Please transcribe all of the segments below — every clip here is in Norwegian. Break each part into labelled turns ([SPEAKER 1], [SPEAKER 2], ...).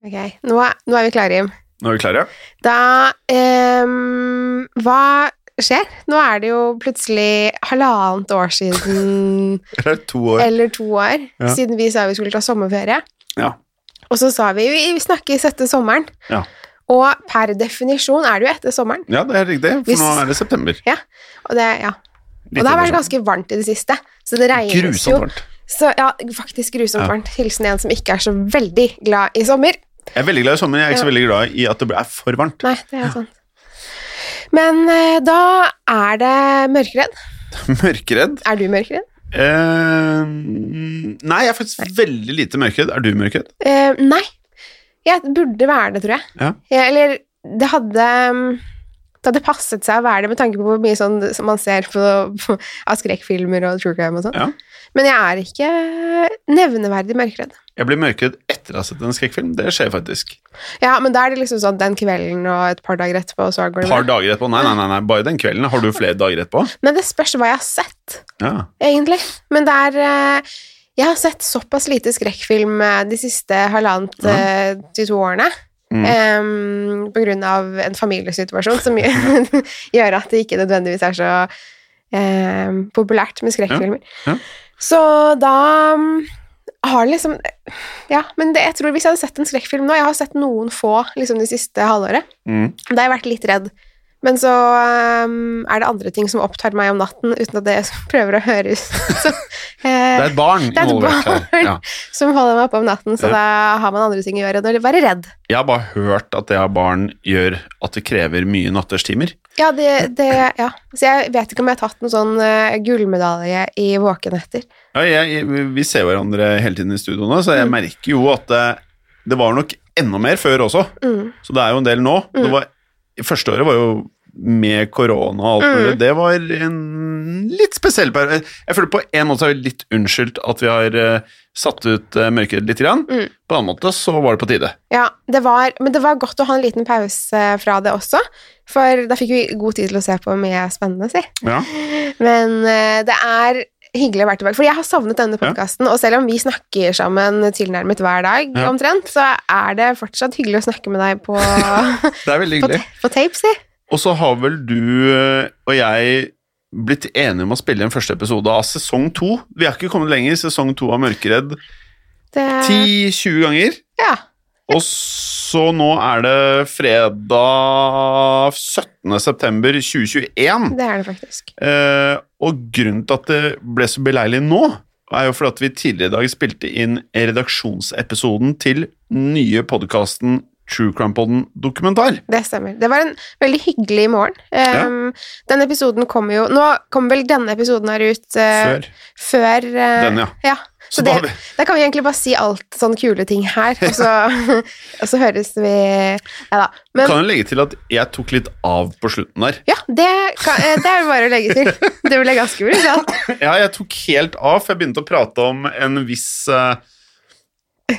[SPEAKER 1] Ok, nå er, nå er vi klare, Jim.
[SPEAKER 2] Nå er vi klare.
[SPEAKER 1] Da ehm, Hva skjer? Nå er det jo plutselig halvannet år siden,
[SPEAKER 2] Det er to år.
[SPEAKER 1] eller to år,
[SPEAKER 2] Ja.
[SPEAKER 1] siden vi sa vi skulle ta sommerferie.
[SPEAKER 2] Ja.
[SPEAKER 1] Og så sa vi vi snakkes etter sommeren.
[SPEAKER 2] Ja.
[SPEAKER 1] Og per definisjon er det jo etter sommeren.
[SPEAKER 2] Ja, det er riktig, for
[SPEAKER 1] Hvis-
[SPEAKER 2] nå er det september.
[SPEAKER 1] Og det, ja. og det har vært ganske varmt i det siste, så det regnes jo.
[SPEAKER 2] Grusomt varmt.
[SPEAKER 1] Så, ja, faktisk grusomt
[SPEAKER 2] Ja.
[SPEAKER 1] varmt. Hilsen en som ikke er så veldig glad i sommer.
[SPEAKER 2] Jeg er veldig glad i sommer, jeg er ikke så veldig glad i at det er for varmt.
[SPEAKER 1] Nei, det er sant. Men eh, da er det mørkeredd.
[SPEAKER 2] Mørkeredd?
[SPEAKER 1] Er du mørkeredd?
[SPEAKER 2] Eh, nei, jeg er faktisk veldig lite mørkeredd. Er du mørkeredd?
[SPEAKER 1] Eh, nei. Jeg burde være det, tror jeg.
[SPEAKER 2] Ja.
[SPEAKER 1] Jeg- eller det hadde mm, det hadde passet seg å være det, med tanke på hvor mye sånn som man ser på, på, av skrekkfilmer og true crime og sånn.
[SPEAKER 2] Ja.
[SPEAKER 1] Men jeg er ikke nevneverdig mørkeredd.
[SPEAKER 2] Jeg blir mørkeredd etter å ha sett en skrekkfilm. Det skjer faktisk.
[SPEAKER 1] Ja, men da er det liksom sånn den kvelden og et par dager etterpå, så går
[SPEAKER 2] Et
[SPEAKER 1] det
[SPEAKER 2] par
[SPEAKER 1] bra.
[SPEAKER 2] dager etterpå. Nei, nei, nei, nei, bare den kvelden. Har du flere dager etterpå?
[SPEAKER 1] Men det spørs hva jeg har sett,
[SPEAKER 2] Ja.
[SPEAKER 1] egentlig. Men det er eh, Jeg har sett såpass lite skrekkfilm eh, de siste halvannet
[SPEAKER 2] Ja.
[SPEAKER 1] eh, til to årene.
[SPEAKER 2] Mm.
[SPEAKER 1] Eh, Em, på grunn av en familiesituasjon som gjør, gjør at det ikke nødvendigvis er så em, populært med skrekkfilmer.
[SPEAKER 2] Ja, ja.
[SPEAKER 1] Så da mm, har liksom Ja, men det, jeg tror hvis jeg hadde sett en skrekkfilm nå Jeg har sett noen få liksom, det siste halvåret.
[SPEAKER 2] Mm.
[SPEAKER 1] Da har jeg vært litt redd. Men så em, er det andre ting som opptar meg om natten, uten at det prøver å høres som,
[SPEAKER 2] Det er et barn
[SPEAKER 1] er et
[SPEAKER 2] involvert her.
[SPEAKER 1] barn.
[SPEAKER 2] Ja.
[SPEAKER 1] som holder meg oppe om natten. Så
[SPEAKER 2] Ja.
[SPEAKER 1] da har man andre ting å gjøre enn å være redd.
[SPEAKER 2] Jeg har bare hørt at det av barn gjør at det krever mye natterstimer.
[SPEAKER 1] Ja, det, det ja. Så jeg vet ikke om jeg har tatt noen sånn eh, gullmedalje i våkenetter.
[SPEAKER 2] Ja, jeg, vi ser hverandre hele tiden i studio nå, så jeg
[SPEAKER 1] Mm.
[SPEAKER 2] merker jo at det, det var nok enda mer før også.
[SPEAKER 1] Mm.
[SPEAKER 2] Så det er jo en del nå. Det var, første året var jo med korona og alt mulig.
[SPEAKER 1] Mm.
[SPEAKER 2] Det var en litt spesiell periode. Jeg føler på en måte så er vi litt unnskyldt at vi har eh, satt ut uh, mørket litt. Grann.
[SPEAKER 1] Mm.
[SPEAKER 2] På en annen måte så var det på tide.
[SPEAKER 1] Ja, det var, men det var godt å ha en liten pause fra det også, for da fikk vi god tid til å se på mye spennende, si.
[SPEAKER 2] Ja.
[SPEAKER 1] Men eh, det er hyggelig å være tilbake, for jeg har savnet denne
[SPEAKER 2] Ja.
[SPEAKER 1] podkasten, og selv om vi snakker sammen tilnærmet hver dag
[SPEAKER 2] Ja.
[SPEAKER 1] omtrent, så er det fortsatt hyggelig å snakke med deg på,
[SPEAKER 2] Det er veldig
[SPEAKER 1] på,
[SPEAKER 2] hyggelig.
[SPEAKER 1] ta- på tape, si.
[SPEAKER 2] Og så har vel du eh, og jeg blitt enige om å spille en første episode av sesong to. Vi har ikke kommet lenger i sesong to av Mørkeredd.
[SPEAKER 1] Det,
[SPEAKER 2] 10-20 ganger.
[SPEAKER 1] ja.
[SPEAKER 2] Og så nå er det fredag 17. september 2021.
[SPEAKER 1] Det er det faktisk.
[SPEAKER 2] Eh, og grunnen til at det ble så beleilig nå, er jo fordi at vi tidligere i dag spilte inn redaksjonsepisoden til nye podkasten True Crime Podden dokumentar.
[SPEAKER 1] Det stemmer. Det var en veldig hyggelig morgen.
[SPEAKER 2] Ja.
[SPEAKER 1] Um, Den episoden kommer jo Nå kommer vel denne episoden her ut eh,
[SPEAKER 2] Før.
[SPEAKER 1] før eh,
[SPEAKER 2] Den, ja.
[SPEAKER 1] ja.
[SPEAKER 2] Så
[SPEAKER 1] Så det,
[SPEAKER 2] da har vi
[SPEAKER 1] da kan vi egentlig bare si alt sånne kule ting her, og så, og så høres vi Nei da. Men
[SPEAKER 2] kan jo legge til at jeg tok litt av på slutten der.
[SPEAKER 1] ja, det, kan, eh, det er det bare å legge til. Det ble ganske brutalt.
[SPEAKER 2] Ja, jeg tok helt av, for jeg begynte å prate om en viss eh,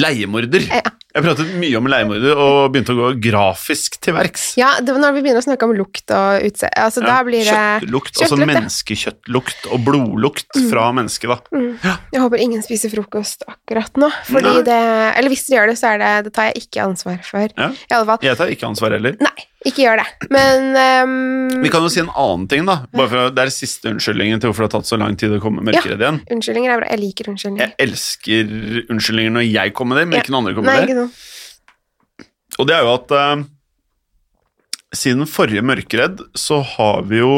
[SPEAKER 2] leiemorder.
[SPEAKER 1] Ja.
[SPEAKER 2] Jeg pratet mye om leiemorder og begynte å gå grafisk til verks.
[SPEAKER 1] Ja, det var når vi begynner å snakke om lukt og utseende altså, Da blir det
[SPEAKER 2] Kjøttlukt, altså
[SPEAKER 1] kjøttlukt, Mm. ja.
[SPEAKER 2] menneskekjøttlukt og blodlukt fra mennesket, da.
[SPEAKER 1] Jeg håper ingen spiser frokost akkurat nå, fordi
[SPEAKER 2] Nei.
[SPEAKER 1] det Eller hvis dere gjør det, så er det Det tar jeg ikke ansvar for.
[SPEAKER 2] Ja.
[SPEAKER 1] I alle fall.
[SPEAKER 2] Jeg tar ikke ansvar heller.
[SPEAKER 1] Nei, ikke gjør det. Men ehm,
[SPEAKER 2] Vi kan jo si en annen ting, da. Bare for, å- det er siste unnskyldningen til hvorfor det har tatt så lang tid å komme med Mørkeredd igjen.
[SPEAKER 1] Unnskyldninger er bra. Jeg liker unnskyldninger.
[SPEAKER 2] Jeg elsker unnskyldninger når jeg kommer med dem, men
[SPEAKER 1] Ja.
[SPEAKER 2] ikke når andre kommer
[SPEAKER 1] Nei,
[SPEAKER 2] med dem.
[SPEAKER 1] ikke sånn.
[SPEAKER 2] Og det er jo at eh, siden forrige Mørkeredd så har vi jo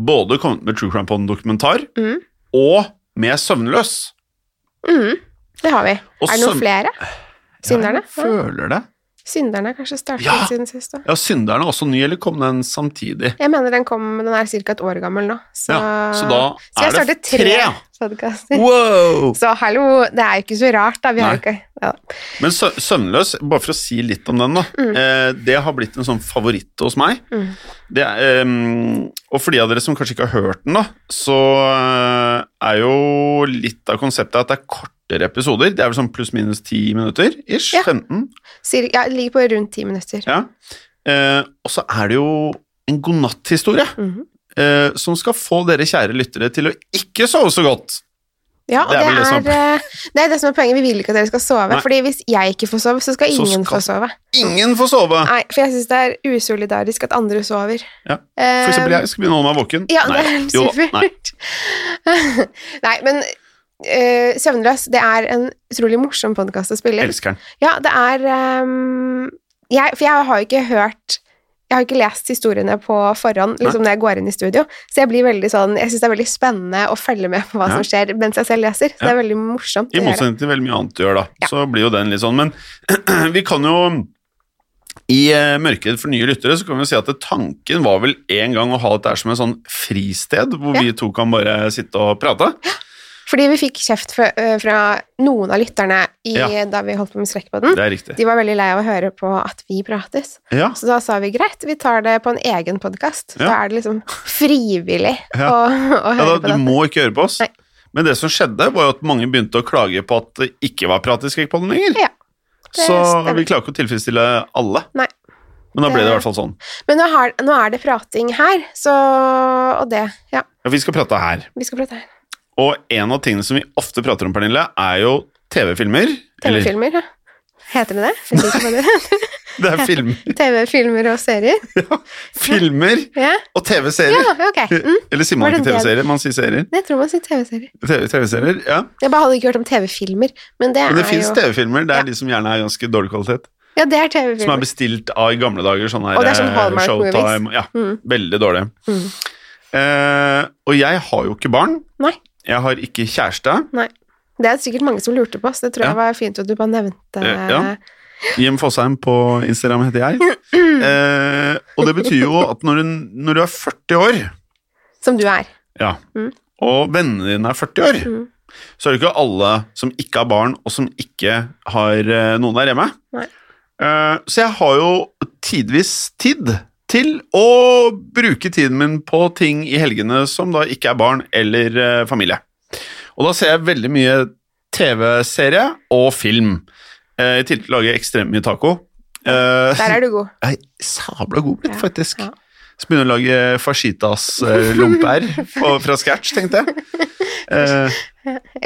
[SPEAKER 2] både kommet med True Crime på en dokumentar
[SPEAKER 1] Mhm.
[SPEAKER 2] og med Søvnløs.
[SPEAKER 1] Mm, det har vi.
[SPEAKER 2] Og
[SPEAKER 1] er det noen
[SPEAKER 2] søvn-
[SPEAKER 1] flere? Synderne?
[SPEAKER 2] Ja, jeg føler det.
[SPEAKER 1] Synderne har kanskje startet
[SPEAKER 2] Ja.
[SPEAKER 1] siden sist òg.
[SPEAKER 2] Ja, Synderne er også ny, eller kom den samtidig?
[SPEAKER 1] Jeg mener den kom Den er ca. et år gammel nå. Så,
[SPEAKER 2] Ja, så da
[SPEAKER 1] Så jeg
[SPEAKER 2] er det
[SPEAKER 1] startet tre podkaster.
[SPEAKER 2] Wow!
[SPEAKER 1] Så hallo, det er jo ikke så rart, da. Vi har
[SPEAKER 2] Nei.
[SPEAKER 1] jo ikke ja.
[SPEAKER 2] Men sø Søvnløs, bare for å si litt om den, da.
[SPEAKER 1] Mm.
[SPEAKER 2] Eh, det har blitt en sånn favoritt hos meg.
[SPEAKER 1] Mm.
[SPEAKER 2] Det er, ehm, og for de av dere som kanskje ikke har hørt den, da, så eh, er jo litt av konseptet at det er kortere episoder. Det er vel sånn pluss-minus 10 minutter ish.
[SPEAKER 1] Ja.
[SPEAKER 2] 15.
[SPEAKER 1] Cir- ja, det ligger på rundt ti minutter.
[SPEAKER 2] Ja. Eh, og så er det jo en godnatthistorie
[SPEAKER 1] Mhm.
[SPEAKER 2] eh, som skal få dere kjære lyttere til å ikke sove så godt.
[SPEAKER 1] Ja, og
[SPEAKER 2] Det
[SPEAKER 1] det
[SPEAKER 2] er
[SPEAKER 1] er,
[SPEAKER 2] vel det som-
[SPEAKER 1] eh, det, er det som er poenget. Vi vil ikke at dere skal sove.
[SPEAKER 2] Nei.
[SPEAKER 1] fordi hvis jeg ikke får sove, så skal
[SPEAKER 2] Så
[SPEAKER 1] ingen
[SPEAKER 2] skal-
[SPEAKER 1] få sove.
[SPEAKER 2] Ingen får sove!
[SPEAKER 1] Nei, For jeg syns det er usolidarisk at andre sover. Ehm,
[SPEAKER 2] Ja, For eksempel jeg skal begynne å holde meg våken.
[SPEAKER 1] Eh, Ja,
[SPEAKER 2] Nei,
[SPEAKER 1] det er helt
[SPEAKER 2] jo da, nei.
[SPEAKER 1] supert. Nei. men eh, Søvnløs, det er en utrolig morsom podkast å spille inn.
[SPEAKER 2] Elsker den.
[SPEAKER 1] Ja, det er ehm, jeg, For jeg har jo ikke hørt Jeg har ikke lest historiene på forhånd liksom når jeg går inn i studio, så jeg blir veldig sånn Jeg syns det er veldig spennende å følge med på hva
[SPEAKER 2] Ja.
[SPEAKER 1] som skjer mens jeg selv leser. Så
[SPEAKER 2] Ja.
[SPEAKER 1] det er veldig morsomt.
[SPEAKER 2] I
[SPEAKER 1] å gjøre.
[SPEAKER 2] motsetning til veldig mye annet du gjør, da.
[SPEAKER 1] Ja.
[SPEAKER 2] Så blir jo den litt sånn. Men vi kan jo i eh, Mørkeredd for nye lyttere så kan vi jo si at tanken var vel en gang å ha dette her som en sånn fristed, hvor
[SPEAKER 1] Ja. Hm.
[SPEAKER 2] vi to kan bare sitte og prate.
[SPEAKER 1] Fordi vi fikk kjeft fra, eh, fra noen av lytterne i,
[SPEAKER 2] Ja.
[SPEAKER 1] da vi holdt på med Skrekkpodden.
[SPEAKER 2] Det er riktig.
[SPEAKER 1] De var veldig lei av å høre på at vi prates.
[SPEAKER 2] Ja,
[SPEAKER 1] Så da sa vi greit, vi tar det på en egen podkast.
[SPEAKER 2] Ja.
[SPEAKER 1] Da er det liksom frivillig
[SPEAKER 2] Ja.
[SPEAKER 1] å, å
[SPEAKER 2] ja
[SPEAKER 1] høre
[SPEAKER 2] da,
[SPEAKER 1] på
[SPEAKER 2] Du
[SPEAKER 1] det.
[SPEAKER 2] må ikke høre på oss.
[SPEAKER 1] Nei.
[SPEAKER 2] Men det som skjedde, var jo at mange begynte å klage på at det ikke var prat i Skrekkpodden lenger.
[SPEAKER 1] Ja, det
[SPEAKER 2] så
[SPEAKER 1] stemmer.
[SPEAKER 2] vi klarer ikke å tilfredsstille alle.
[SPEAKER 1] Nei.
[SPEAKER 2] Men da ble det i
[SPEAKER 1] Det-
[SPEAKER 2] hvert fall sånn.
[SPEAKER 1] Men nå, har, nå er det prating her, så Og det. Ja,
[SPEAKER 2] Ja, vi skal prate her.
[SPEAKER 1] vi skal prate her.
[SPEAKER 2] Og en av tingene som vi ofte prater om, Pernille, er jo TV-filmer. Eller,
[SPEAKER 1] TV-filmer. ja. Heter det det? Jeg vet ikke hva det? heter.
[SPEAKER 2] det er filmer.
[SPEAKER 1] TV-filmer og serier.
[SPEAKER 2] filmer
[SPEAKER 1] Ja,
[SPEAKER 2] og TV-serier.
[SPEAKER 1] ja ok. Mm.
[SPEAKER 2] Eller sier
[SPEAKER 1] Var
[SPEAKER 2] man
[SPEAKER 1] det
[SPEAKER 2] ikke
[SPEAKER 1] det?
[SPEAKER 2] TV-serier, man sier serier.
[SPEAKER 1] Jeg tror man sier TV-serier.
[SPEAKER 2] TV- TV-serier, ja.
[SPEAKER 1] Jeg bare hadde ikke hørt om TV-filmer, men det,
[SPEAKER 2] Men det
[SPEAKER 1] er
[SPEAKER 2] fins
[SPEAKER 1] jo
[SPEAKER 2] TV-filmer. Det
[SPEAKER 1] Ja.
[SPEAKER 2] er de som gjerne er ganske dårlig kvalitet.
[SPEAKER 1] Ja, det er
[SPEAKER 2] Som er
[SPEAKER 1] TV-filmer.
[SPEAKER 2] bestilt av i gamle dager. Sånne
[SPEAKER 1] Og det er sånn
[SPEAKER 2] eh,
[SPEAKER 1] Hallmark
[SPEAKER 2] Showtime. Ja,
[SPEAKER 1] Mm.
[SPEAKER 2] Veldig dårlig.
[SPEAKER 1] Mm.
[SPEAKER 2] Eh, og jeg har jo ikke barn.
[SPEAKER 1] Nei.
[SPEAKER 2] Jeg har ikke kjæreste.
[SPEAKER 1] Det er sikkert mange som lurte på oss. Det tror
[SPEAKER 2] Ja.
[SPEAKER 1] jeg var fint at du bare nevnte.
[SPEAKER 2] Eh, ja. Jim Fosheim på Instagram heter jeg. Eh, og det betyr jo at når du, når du er 40 år,
[SPEAKER 1] Som du er.
[SPEAKER 2] Ja.
[SPEAKER 1] Mm.
[SPEAKER 2] Og vennene dine er 40 år.
[SPEAKER 1] Mm.
[SPEAKER 2] Så er det ikke alle som ikke har barn, og som ikke har eh, noen der hjemme.
[SPEAKER 1] Nei.
[SPEAKER 2] Eh, Så jeg har jo tidvis tid til å bruke tiden min på ting i helgene som da ikke er barn eller eh, familie. Og da ser jeg veldig mye TV-serie og film. Eh, I tillegg lager jeg ekstremt mye taco. Eh,
[SPEAKER 1] Der er du god.
[SPEAKER 2] jeg er sabla god blitt,
[SPEAKER 1] Ja,
[SPEAKER 2] faktisk.
[SPEAKER 1] ja.
[SPEAKER 2] Så begynner jeg å lage fajitas-lomper fra scratch, tenkte jeg. Eh,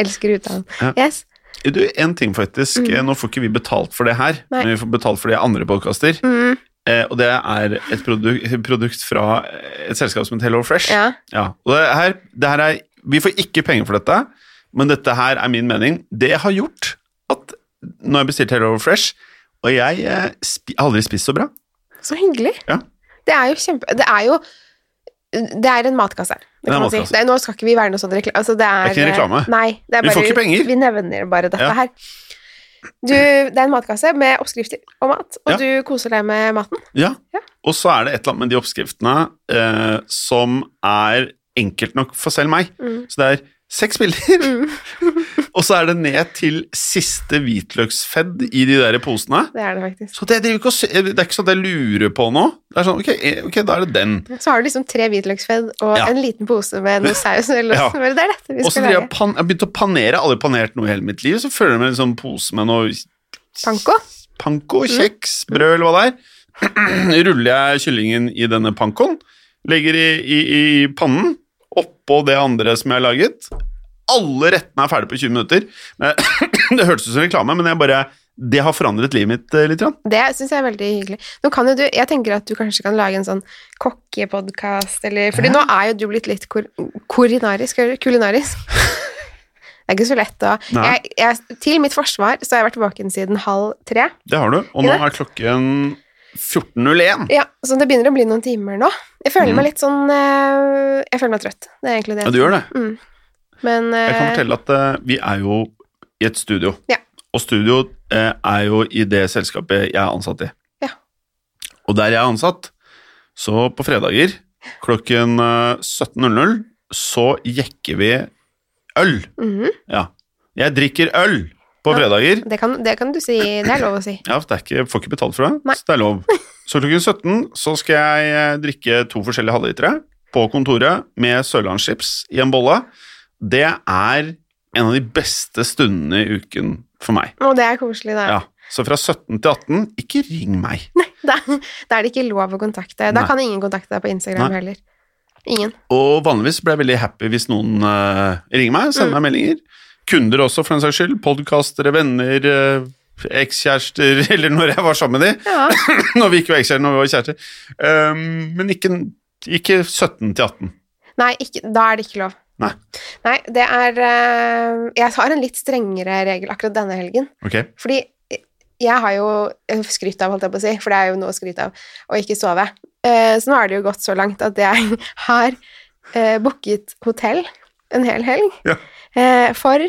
[SPEAKER 1] Elsker uttalen.
[SPEAKER 2] Ja.
[SPEAKER 1] Yes.
[SPEAKER 2] du, en ting faktisk. eh, Nå får ikke vi betalt for det her,
[SPEAKER 1] Mm. Nei.
[SPEAKER 2] men vi får betalt for det i andre podkaster.
[SPEAKER 1] Mm.
[SPEAKER 2] Eh, og det er et produkt, produkt fra et selskap som heter Hello Fresh.
[SPEAKER 1] Ja.
[SPEAKER 2] Ja, og det her, det her er, vi får ikke penger for dette, men dette her er min mening. Det jeg har gjort, at nå har jeg bestilt Hello Fresh, og jeg eh, spi, har aldri spist så bra.
[SPEAKER 1] Så hyggelig.
[SPEAKER 2] Ja.
[SPEAKER 1] Det er jo kjempe... Det er jo det er en matkasse. Det kan
[SPEAKER 2] er en
[SPEAKER 1] man si.
[SPEAKER 2] matkasse.
[SPEAKER 1] Det er, nå skal ikke vi være noe sånn reklame. Altså, det, er,
[SPEAKER 2] Det er ikke en reklame.
[SPEAKER 1] Nei, det er
[SPEAKER 2] Vi
[SPEAKER 1] bare,
[SPEAKER 2] får ikke penger.
[SPEAKER 1] Vi nevner bare dette
[SPEAKER 2] Ja.
[SPEAKER 1] her. Du, det er en matkasse med oppskrifter og mat, og
[SPEAKER 2] Ja.
[SPEAKER 1] du koser deg med maten.
[SPEAKER 2] Ja.
[SPEAKER 1] Ja.
[SPEAKER 2] Og så er det et eller annet med de oppskriftene eh, som er enkelt nok for selv meg.
[SPEAKER 1] Mm.
[SPEAKER 2] Så det er seks bilder, og så er det ned til siste hvitløksfedd i de der posene.
[SPEAKER 1] Det er det faktisk.
[SPEAKER 2] Så det, driver ikke å se- det er ikke sånn at jeg lurer på noe. Det er sånn, ok, eh, ok, da er det den.
[SPEAKER 1] Så har du liksom tre hvitløksfedd og
[SPEAKER 2] Ja.
[SPEAKER 1] en liten pose med noe saus. Eller
[SPEAKER 2] Ja.
[SPEAKER 1] noe. sånt. Det er dette vi
[SPEAKER 2] Og så
[SPEAKER 1] skal
[SPEAKER 2] driver jeg
[SPEAKER 1] lage.
[SPEAKER 2] og pan- jeg har begynt å panere. Jeg har aldri panert noe i hele mitt liv. Så føler jeg meg i en sånn pose med noe
[SPEAKER 1] Panko.
[SPEAKER 2] panko, kjeks, brød eller hva det er. Ruller jeg kyllingen i denne pankoen, legger i, i, i pannen, oppå det andre som jeg har laget. Alle rettene er ferdige på 20 minutter. Men- Det hørtes ut som reklame, men jeg bare, det har forandret livet mitt eh, litt. grann.
[SPEAKER 1] Det syns jeg er veldig hyggelig. Nå kan jo du, jeg tenker at du kanskje kan lage en sånn kokkepodkast, eller Fordi nå er jo du blitt litt kor korinarisk, eller kulinarisk. Det er ikke så lett å
[SPEAKER 2] Nei.
[SPEAKER 1] jeg, jeg, Til mitt forsvar så har jeg vært våken siden halv tre.
[SPEAKER 2] Det har du. Og nå
[SPEAKER 1] Ja.
[SPEAKER 2] er klokken 14.01.
[SPEAKER 1] Ja, Så det begynner å bli noen timer nå. Jeg føler
[SPEAKER 2] Mm.
[SPEAKER 1] meg litt sånn eh, Jeg føler meg trøtt. Det er egentlig det.
[SPEAKER 2] Ja, du gjør det.
[SPEAKER 1] Mm. Men
[SPEAKER 2] Jeg kan
[SPEAKER 1] eh,
[SPEAKER 2] fortelle at eh, vi er jo i et studio.
[SPEAKER 1] Ja.
[SPEAKER 2] Og studio eh, er jo i det selskapet jeg er ansatt i.
[SPEAKER 1] Ja.
[SPEAKER 2] Og der jeg er ansatt, så på fredager klokken eh, 17.00 så jekker vi øl.
[SPEAKER 1] mhm.
[SPEAKER 2] Ja. Jeg drikker øl på
[SPEAKER 1] Ja.
[SPEAKER 2] fredager.
[SPEAKER 1] det, kan, det kan du si. Det er lov å si.
[SPEAKER 2] Ja, for det er ikke, får ikke betalt for det,
[SPEAKER 1] Nei.
[SPEAKER 2] så det er lov. Så klokken 17 så skal jeg eh, drikke to forskjellige halvlitere på kontoret med sørlandschips i en bolle. Det er en av de beste stundene i uken for meg.
[SPEAKER 1] Og det er koselig, da.
[SPEAKER 2] Ja. Så fra 17 til 18, ikke ring meg.
[SPEAKER 1] Da, da er det ikke lov å kontakte. Da
[SPEAKER 2] Nei.
[SPEAKER 1] kan ingen kontakte deg på Instagram
[SPEAKER 2] Nei.
[SPEAKER 1] heller. Ingen.
[SPEAKER 2] Og vanligvis blir jeg veldig happy hvis noen eh, ringer meg, sender meg meldinger. kunder også, for den saks skyld. Podkastere, venner, eh, ekskjærester Eller når jeg var sammen med de.
[SPEAKER 1] Ja.
[SPEAKER 2] Når vi ikke var ekskjærester, når vi var kjærester. Ehm, men ikke, ikke 17 til 18.
[SPEAKER 1] Nei, ikke, da er det ikke lov.
[SPEAKER 2] Nei.
[SPEAKER 1] Nei, det er eh, Jeg har en litt strengere regel akkurat denne helgen.
[SPEAKER 2] Ok.
[SPEAKER 1] Fordi eh, jeg har jo eh, skrytt av, holdt jeg på å si, for det er jo noe å skryte av, å ikke sove. Eh, Så nå har det jo gått så langt at jeg har eh, booket hotell en hel helg
[SPEAKER 2] Ja.
[SPEAKER 1] eh, for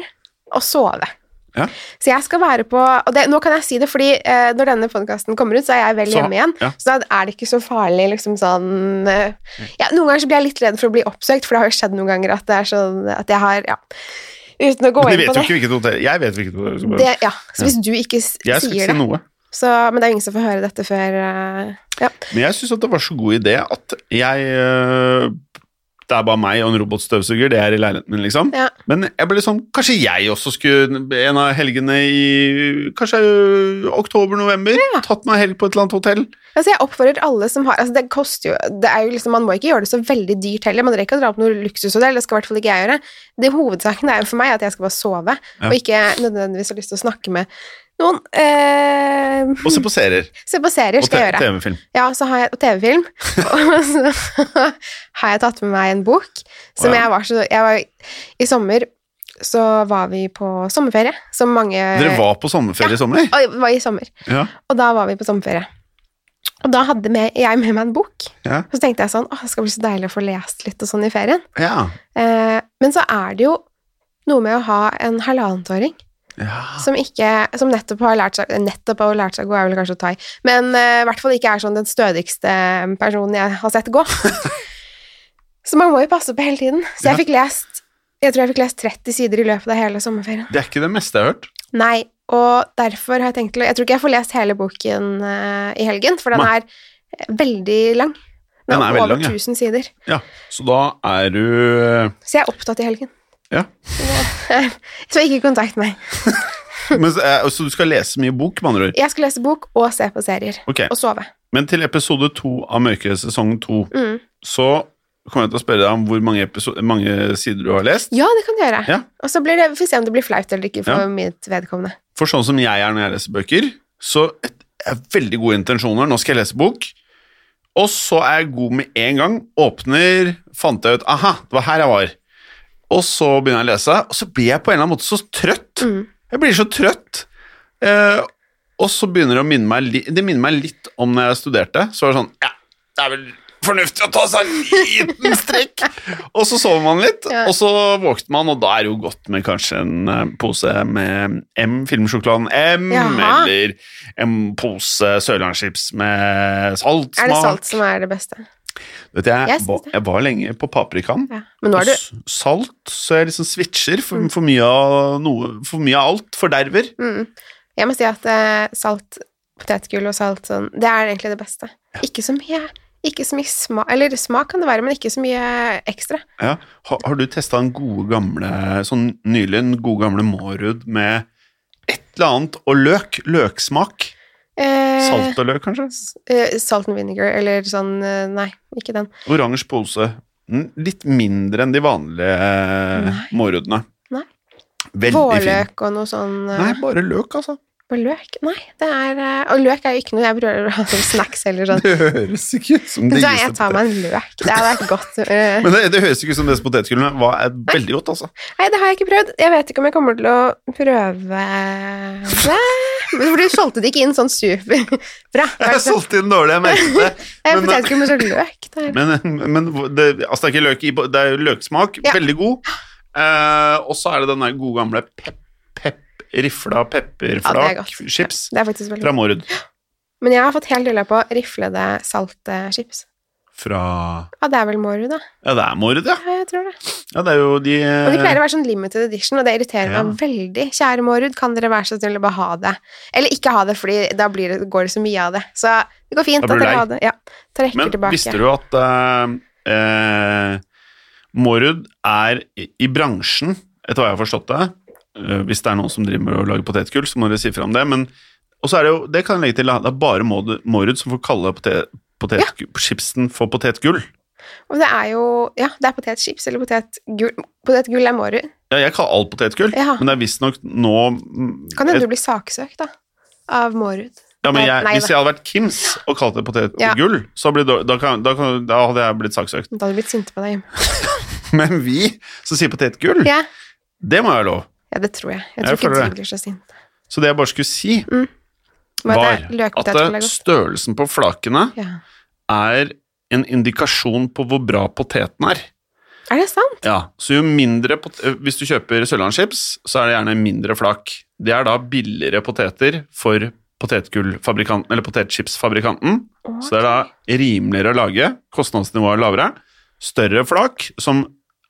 [SPEAKER 1] å sove.
[SPEAKER 2] Ja.
[SPEAKER 1] Så jeg skal være på Og det, nå kan jeg si det, fordi eh, når denne podkasten kommer ut, så er jeg vel
[SPEAKER 2] Så-
[SPEAKER 1] hjemme igjen.
[SPEAKER 2] ja.
[SPEAKER 1] Så da er det ikke så farlig, liksom sånn eh, ja, Noen ganger så blir jeg litt redd for å bli oppsøkt, for det har jo skjedd noen ganger at det er sånn at jeg har Ja. Uten å gå
[SPEAKER 2] Men de
[SPEAKER 1] inn på
[SPEAKER 2] vet jo
[SPEAKER 1] det.
[SPEAKER 2] ikke hvilket hotell Jeg vet hvilket hotell. så bare-
[SPEAKER 1] det ja. Så hvis du ikke s-
[SPEAKER 2] jeg skal
[SPEAKER 1] sier
[SPEAKER 2] ikke si
[SPEAKER 1] det
[SPEAKER 2] noe.
[SPEAKER 1] så, men det er jo ingen som får høre dette før eh, Ja.
[SPEAKER 2] Men jeg syns det var så god idé at jeg øh, Det er bare meg og en robotstøvsuger, det er i leiligheten min, liksom.
[SPEAKER 1] Ja.
[SPEAKER 2] Men jeg ble sånn Kanskje jeg også skulle en av helgene i Kanskje øh, oktober-november? Tatt meg helg på et eller annet hotell?
[SPEAKER 1] Altså, jeg oppfordrer alle som har altså, Det koster jo det er jo liksom, Man må ikke gjøre det så veldig dyrt heller. Man rekker å dra på noe luksushotell, det skal i hvert fall ikke jeg gjøre. Det Hovedsaken er jo for meg at jeg skal bare sove,
[SPEAKER 2] Ja.
[SPEAKER 1] og ikke nødvendigvis har lyst til å snakke med noen. Eh,
[SPEAKER 2] Og se på serier
[SPEAKER 1] se på serier,
[SPEAKER 2] og
[SPEAKER 1] skal jeg
[SPEAKER 2] te-
[SPEAKER 1] gjøre.
[SPEAKER 2] TV-film.
[SPEAKER 1] Ja, så har jeg og TV-film. Og så har jeg tatt med meg en bok som
[SPEAKER 2] Wow.
[SPEAKER 1] jeg var så jeg var, I sommer så var vi på sommerferie, som mange
[SPEAKER 2] Dere var på sommerferie i sommer?
[SPEAKER 1] Oi, det var i sommer.
[SPEAKER 2] Ja.
[SPEAKER 1] Og da var vi på sommerferie. Og da hadde med, jeg med meg en bok.
[SPEAKER 2] Ja.
[SPEAKER 1] Og så tenkte jeg sånn Å, det skal bli så deilig å få lest litt og sånn i ferien.
[SPEAKER 2] ja.
[SPEAKER 1] Eh, men så er det jo noe med å ha en halvannetåring
[SPEAKER 2] ja.
[SPEAKER 1] som ikke Som nettopp har lært seg Nettopp har lært seg å gå, er vel kanskje å ta i, men eh, i hvert fall ikke er sånn den stødigste personen jeg har sett gå. så man må jo passe på hele tiden. Så
[SPEAKER 2] Ja.
[SPEAKER 1] jeg fikk lest Jeg tror jeg fikk lest 30 sider i løpet av hele sommerferien.
[SPEAKER 2] Det er ikke det meste jeg har hørt.
[SPEAKER 1] Nei, og derfor har jeg tenkt til å Jeg tror ikke jeg får lest hele boken eh, i helgen, for den
[SPEAKER 2] Nei.
[SPEAKER 1] er eh, veldig lang. Den,
[SPEAKER 2] Den er
[SPEAKER 1] er
[SPEAKER 2] veldig
[SPEAKER 1] over
[SPEAKER 2] lang, ja.
[SPEAKER 1] 1000 sider.
[SPEAKER 2] Ja. Så da er du øh,
[SPEAKER 1] Så jeg er opptatt i helgen.
[SPEAKER 2] Ja.
[SPEAKER 1] Så ikke kontakt meg.
[SPEAKER 2] men, så- eh, Så du skal lese mye bok, med andre ord?
[SPEAKER 1] Jeg skal lese bok og se på serier.
[SPEAKER 2] Ok.
[SPEAKER 1] Og sove.
[SPEAKER 2] Men til episode to av Mørke sesong to
[SPEAKER 1] Mm.
[SPEAKER 2] så kommer jeg til å spørre deg om hvor mange, episo- mange sider du har lest.
[SPEAKER 1] Ja, det kan du gjøre.
[SPEAKER 2] Ja.
[SPEAKER 1] Og så blir det, får vi se om det blir flaut eller ikke for
[SPEAKER 2] Ja.
[SPEAKER 1] mitt vedkommende.
[SPEAKER 2] For sånn som jeg er når jeg leser bøker, så er jeg veldig gode intensjoner. Nå skal jeg lese bok. Og så er jeg god med en gang. Åpner, fant jeg ut Aha, det var her jeg var. Og så begynner jeg å lese, og så blir jeg på en eller annen måte så trøtt.
[SPEAKER 1] Mm.
[SPEAKER 2] Jeg blir så trøtt. Eh, og så begynner det å minne meg, li- det minner meg litt om når jeg studerte. Så var det sånn Ja, det er vel fornuftig å ta seg en liten strekk. og så sover man litt,
[SPEAKER 1] Ja.
[SPEAKER 2] og så våkner man, og da er det jo godt med kanskje en eh, pose med M, filmsjokoladen M,
[SPEAKER 1] Jaha.
[SPEAKER 2] eller en pose sørlandschips med saltsmak.
[SPEAKER 1] Er det salt som er det beste?
[SPEAKER 2] Vet du, jeg,
[SPEAKER 1] Jeg syns
[SPEAKER 2] var,
[SPEAKER 1] det.
[SPEAKER 2] jeg var lenge på paprikaen.
[SPEAKER 1] Ja. Men nå er du
[SPEAKER 2] og s- Salt, så jeg liksom switcher for, for, mye av noe, for mye av alt. Forderver.
[SPEAKER 1] mm. Jeg må si at eh, salt potetgull og salt sånn, det er egentlig det beste. Ikke så mye ikke så mye smak Eller smak kan det være, men ikke så mye ekstra.
[SPEAKER 2] Ja. Har, har du testa den gode gamle sånn nylig, den gode gamle Mårud med et eller annet og løk? Løksmak?
[SPEAKER 1] Eh,
[SPEAKER 2] Salt og løk, kanskje?
[SPEAKER 1] eh, salt and vinegar, eller sånn eh, Nei, ikke den.
[SPEAKER 2] Oransje pose. Mm, Litt mindre enn de vanlige eh,
[SPEAKER 1] Nei.
[SPEAKER 2] Mårudene.
[SPEAKER 1] Nei.
[SPEAKER 2] Veldig fin.
[SPEAKER 1] Vårløk og noe sånn eh,
[SPEAKER 2] Nei, bare løk, altså.
[SPEAKER 1] Og løk? Nei, det er eh, Og løk er jo ikke noe jeg prøver å ha som snacks eller sånn.
[SPEAKER 2] Det høres ikke ut som
[SPEAKER 1] Vet
[SPEAKER 2] det
[SPEAKER 1] du hva, jeg tar
[SPEAKER 2] potet-
[SPEAKER 1] meg en løk. Det hadde vært godt. eh,
[SPEAKER 2] Men det, det høres ikke ut som disse potetgullene var er veldig godt, altså.
[SPEAKER 1] Nei, det har jeg ikke prøvd. Jeg vet ikke om jeg kommer til å prøve det. For du solgte det ikke inn sånn superbra.
[SPEAKER 2] Jeg solgte inn dårlig, jeg merket det.
[SPEAKER 1] Jeg
[SPEAKER 2] men-
[SPEAKER 1] potetgull med så løk. Det er.
[SPEAKER 2] Men, men det, altså det er ikke løk i, det er løksmak.
[SPEAKER 1] Ja.
[SPEAKER 2] Veldig god. Eh, og så er det den der gode gamle pep, pep,
[SPEAKER 1] Ja, det
[SPEAKER 2] rifla
[SPEAKER 1] er
[SPEAKER 2] pepperflak
[SPEAKER 1] godt.
[SPEAKER 2] chips
[SPEAKER 1] det er faktisk veldig
[SPEAKER 2] fra
[SPEAKER 1] godt.
[SPEAKER 2] Mårud.
[SPEAKER 1] Men jeg har fått helt rulla på riflede salte chips.
[SPEAKER 2] Fra
[SPEAKER 1] Ja, det er vel Mårud, da.
[SPEAKER 2] Ja, det er Mårud, ja.
[SPEAKER 1] Ja, jeg tror det.
[SPEAKER 2] ja. Det er jo de
[SPEAKER 1] Og de pleier å være sånn limited edition, og det irriterer
[SPEAKER 2] Ja.
[SPEAKER 1] meg veldig. Kjære Mårud, kan dere være så snill å bare ha det? Eller ikke ha det, fordi da blir det, går det så mye av det. Så det går fint
[SPEAKER 2] Da
[SPEAKER 1] at
[SPEAKER 2] blir du
[SPEAKER 1] dere
[SPEAKER 2] lei.
[SPEAKER 1] har det. Ja, trekker
[SPEAKER 2] Men
[SPEAKER 1] tilbake.
[SPEAKER 2] visste du at eh, eh, Mårud er i, i bransjen, etter hva jeg har forstått det eh, Hvis det er noen som driver med å lage potetgull, så må dere si fra om det. Men, og så er det jo, det kan jeg legge til, det er bare Mårud Mårud som får kalle potet, potetgu- chipsen for potetgull.
[SPEAKER 1] Og det er jo Ja, det er potetchips eller potetgull. Potetgull er Mårud.
[SPEAKER 2] Ja, jeg kaller alt potetgull,
[SPEAKER 1] Ja.
[SPEAKER 2] men det er visstnok nå mm,
[SPEAKER 1] Kan hende
[SPEAKER 2] et-
[SPEAKER 1] du blir saksøkt, da. Av Mårud.
[SPEAKER 2] ja, men jeg,
[SPEAKER 1] Nei,
[SPEAKER 2] Hvis jeg hadde vært Kims og kalt det
[SPEAKER 1] Ja.
[SPEAKER 2] potetgull, så blir det- da, kan, da, kan, da hadde jeg blitt saksøkt.
[SPEAKER 1] Da hadde du blitt sinte på deg.
[SPEAKER 2] Hm. Men vi som sier potetgull,
[SPEAKER 1] Ja.
[SPEAKER 2] det må jo være lov.
[SPEAKER 1] ja, det tror jeg. Jeg
[SPEAKER 2] Jeg
[SPEAKER 1] tror ikke
[SPEAKER 2] føler
[SPEAKER 1] du
[SPEAKER 2] det.
[SPEAKER 1] blir så sint.
[SPEAKER 2] Så det jeg bare skulle si,
[SPEAKER 1] Men
[SPEAKER 2] var
[SPEAKER 1] det er
[SPEAKER 2] at
[SPEAKER 1] løkpotetgull er
[SPEAKER 2] det-
[SPEAKER 1] godt.
[SPEAKER 2] størrelsen på flakene
[SPEAKER 1] Ja.
[SPEAKER 2] er en indikasjon på hvor bra poteten er.
[SPEAKER 1] Er det sant?
[SPEAKER 2] Ja, så jo mindre pot eh, Hvis du kjøper Sørlandschips, så er det gjerne mindre flak. Det er da billigere poteter for potetgullfabrikanten, eller potetchipsfabrikanten. Så det er da rimeligere å lage, kostnadsnivået er lavere. Større flak, som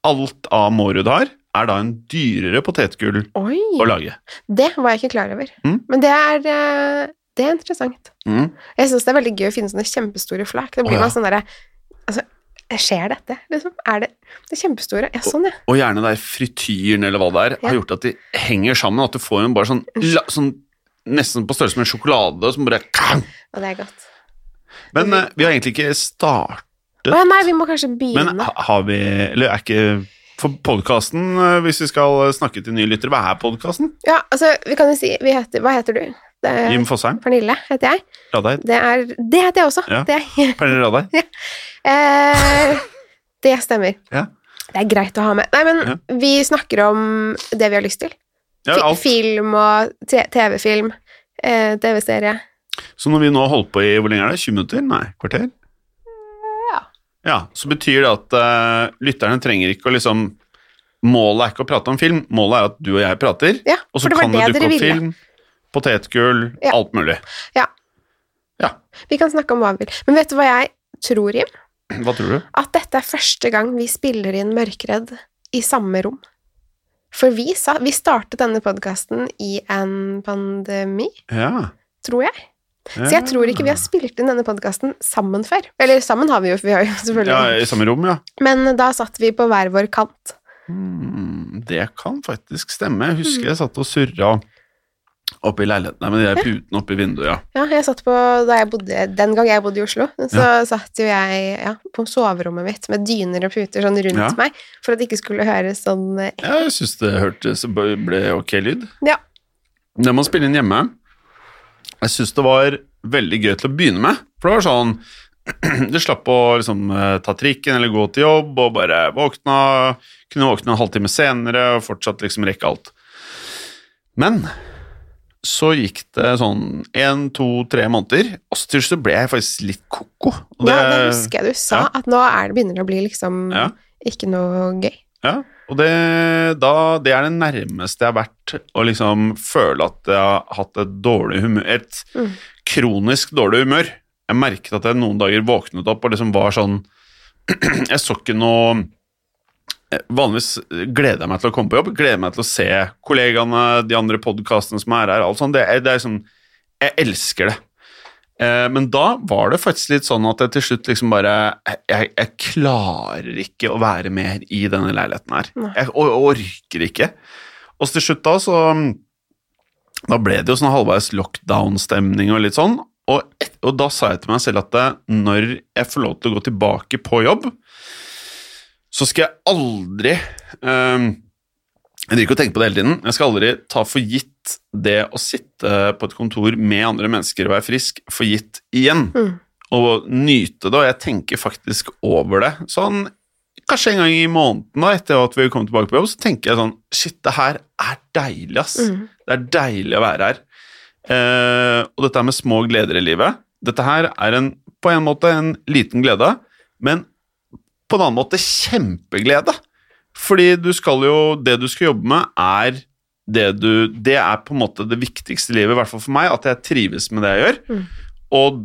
[SPEAKER 2] alt av Mårud har, er da en dyrere potetgull
[SPEAKER 1] Oi!
[SPEAKER 2] å lage.
[SPEAKER 1] Det var jeg ikke klar over.
[SPEAKER 2] Mm.
[SPEAKER 1] Men det er, eh, det er interessant.
[SPEAKER 2] Mm.
[SPEAKER 1] Jeg syns det er veldig gøy å finne sånne kjempestore flak. Det blir
[SPEAKER 2] Å, ja.
[SPEAKER 1] man sånn derre Altså, skjer dette, liksom? Er det Det er kjempestore. Ja, sånn, ja.
[SPEAKER 2] Og gjerne der frityren eller hva det er, har
[SPEAKER 1] Ja.
[SPEAKER 2] gjort at de henger sammen, at du får en bare sånn, la, sånn nesten på størrelse med en sjokolade som bare kang!
[SPEAKER 1] Og det er godt. Mm.
[SPEAKER 2] Men eh, vi har egentlig ikke startet
[SPEAKER 1] Å ja, nei, vi må kanskje begynne.
[SPEAKER 2] Men ha- har vi Eller er ikke For podkasten, hvis vi skal snakke til nye lyttere, hva er podkasten?
[SPEAKER 1] ja, altså, vi kan jo si vi heter, Hva heter du? Det er,
[SPEAKER 2] Jim Fosheim?
[SPEAKER 1] Pernille heter jeg.
[SPEAKER 2] Radheim?
[SPEAKER 1] Det, er, det heter jeg også.
[SPEAKER 2] Ja.
[SPEAKER 1] Det, er,
[SPEAKER 2] Pernille Radheim?
[SPEAKER 1] eh, det stemmer.
[SPEAKER 2] Ja.
[SPEAKER 1] Det er greit å ha med. Nei, men vi snakker om det vi har lyst til.
[SPEAKER 2] Ja,
[SPEAKER 1] Fi-
[SPEAKER 2] alt.
[SPEAKER 1] Film og te- TV-film. Eh, TV-serie.
[SPEAKER 2] Så når vi nå har holdt på i hvor lenge er det? 20 minutter? Nei, kvarter?
[SPEAKER 1] Ja.
[SPEAKER 2] Ja, Så betyr det at eh, lytterne trenger ikke å liksom Målet er ikke å prate om film, målet er at du og jeg prater,
[SPEAKER 1] Ja,
[SPEAKER 2] og
[SPEAKER 1] for
[SPEAKER 2] så
[SPEAKER 1] det var
[SPEAKER 2] kan det
[SPEAKER 1] det
[SPEAKER 2] dukke
[SPEAKER 1] dere
[SPEAKER 2] opp
[SPEAKER 1] ville.
[SPEAKER 2] film, potetgull,
[SPEAKER 1] Ja.
[SPEAKER 2] alt mulig.
[SPEAKER 1] Ja.
[SPEAKER 2] Ja,
[SPEAKER 1] Vi kan snakke om hva vi vil. Men vet du hva jeg tror, Jim?
[SPEAKER 2] Hva tror du?
[SPEAKER 1] At dette er første gang vi spiller inn Mørkredd i samme rom. For vi, sa, vi startet denne podkasten i en pandemi,
[SPEAKER 2] Ja.
[SPEAKER 1] tror jeg. Så jeg tror ikke vi har spilt inn denne podkasten sammen før. Eller sammen har vi jo, for vi har jo
[SPEAKER 2] ja,
[SPEAKER 1] selvfølgelig
[SPEAKER 2] I samme rom, ja.
[SPEAKER 1] Men da satt vi på hver vår kant.
[SPEAKER 2] Hmm, det kan faktisk stemme. Jeg
[SPEAKER 1] Mm.
[SPEAKER 2] husker jeg satt og surra oppe i leiligheten der med de der putene oppe i vinduet, ja.
[SPEAKER 1] Ja, jeg satt på, da jeg bodde, Den gang jeg bodde i Oslo, så satt jo jeg ja, på soverommet mitt med dyner og puter sånn rundt
[SPEAKER 2] Ja.
[SPEAKER 1] meg, for at det ikke skulle høres sånn eh,
[SPEAKER 2] Jeg syns det hørtes ble ok lyd.
[SPEAKER 1] Ja.
[SPEAKER 2] Det må spille inn hjemme. Jeg syns det var veldig gøy til å begynne med, for det var sånn Du slapp å liksom eh, ta trikken eller gå til jobb og bare våkna. Kunne våkne en halvtime senere og fortsatt liksom rekke alt. Men så gikk det sånn én, to, tre måneder, og så til slutt så ble jeg faktisk litt ko-ko. Og
[SPEAKER 1] Ja, det husker jeg du sa,
[SPEAKER 2] ja.
[SPEAKER 1] at nå er det begynner det å bli liksom
[SPEAKER 2] Ja.
[SPEAKER 1] ikke noe gøy.
[SPEAKER 2] Ja, og det, da, det er det nærmeste jeg har vært å liksom føle at jeg har hatt et dårlig humør, et
[SPEAKER 1] Mm.
[SPEAKER 2] kronisk dårlig humør. Jeg merket at jeg noen dager våknet opp og liksom var sånn Jeg så ikke noe eh, Vanligvis gleder jeg meg til å komme på jobb, gleder meg til å se kollegaene, de andre podkastene som er her, alt sånt. Det er, det er sånn Jeg elsker det. Eh, men da var det faktisk litt sånn at jeg til slutt liksom bare Jeg, jeg klarer ikke å være mer i denne leiligheten her.
[SPEAKER 1] Nei.
[SPEAKER 2] Jeg or- orker ikke. Og så til slutt da, så um, Da ble det jo sånn halvveis lockdown-stemning og litt sånn. Og, et- og da sa jeg til meg selv at eh, når jeg får lov til å gå tilbake på jobb, så skal jeg aldri eh, Jeg driver ikke å tenke på det hele tiden. Jeg skal aldri ta for gitt det å sitte på et kontor med andre mennesker og være frisk for gitt igjen.
[SPEAKER 1] Mm.
[SPEAKER 2] Og nyte det, og jeg tenker faktisk over det. Sånn kanskje en gang i måneden da, etter at vi kom tilbake på jobb, så tenker jeg sånn Shit, det her er deilig, ass.
[SPEAKER 1] Mm.
[SPEAKER 2] Det er deilig å være her. Eh, og dette her med små gleder i livet Dette her er en, på en måte en liten glede, men på en annen måte kjempeglede. Fordi du skal jo Det du skal jobbe med, er det du Det er på en måte det viktigste i livet, i hvert fall for meg, at jeg trives med det jeg gjør.
[SPEAKER 1] Mm.
[SPEAKER 2] Og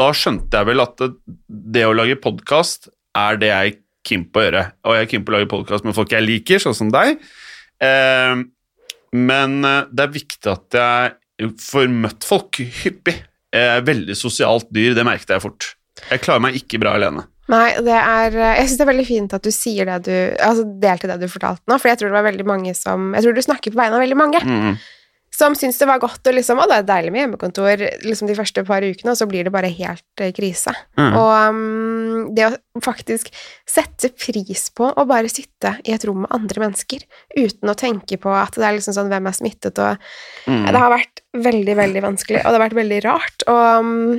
[SPEAKER 2] da skjønte jeg vel at det, det å lage podkast er det jeg er keen på å gjøre. Og jeg er keen på å lage podkast med folk jeg liker, sånn som deg. Eh, men eh, det er viktig at jeg får møtt folk hyppig. Jeg er veldig sosialt dyr, det merket jeg fort. Jeg klarer meg ikke bra alene.
[SPEAKER 1] Nei, det er Jeg syns det er veldig fint at du sier det du Altså delte det du fortalte nå, for jeg tror det var veldig mange som Jeg tror du snakker på vegne av veldig mange
[SPEAKER 2] Mm.
[SPEAKER 1] som syns det var godt og liksom Å, det er deilig med hjemmekontor liksom de første par ukene, og så blir det bare helt eh, krise.
[SPEAKER 2] Mhm.
[SPEAKER 1] Og mm, det å faktisk sette pris på å bare sitte i et rom med andre mennesker uten å tenke på at det er liksom sånn hvem er smittet og
[SPEAKER 2] Mm.
[SPEAKER 1] Det har vært veldig, veldig vanskelig, og det har vært veldig rart. Og mm,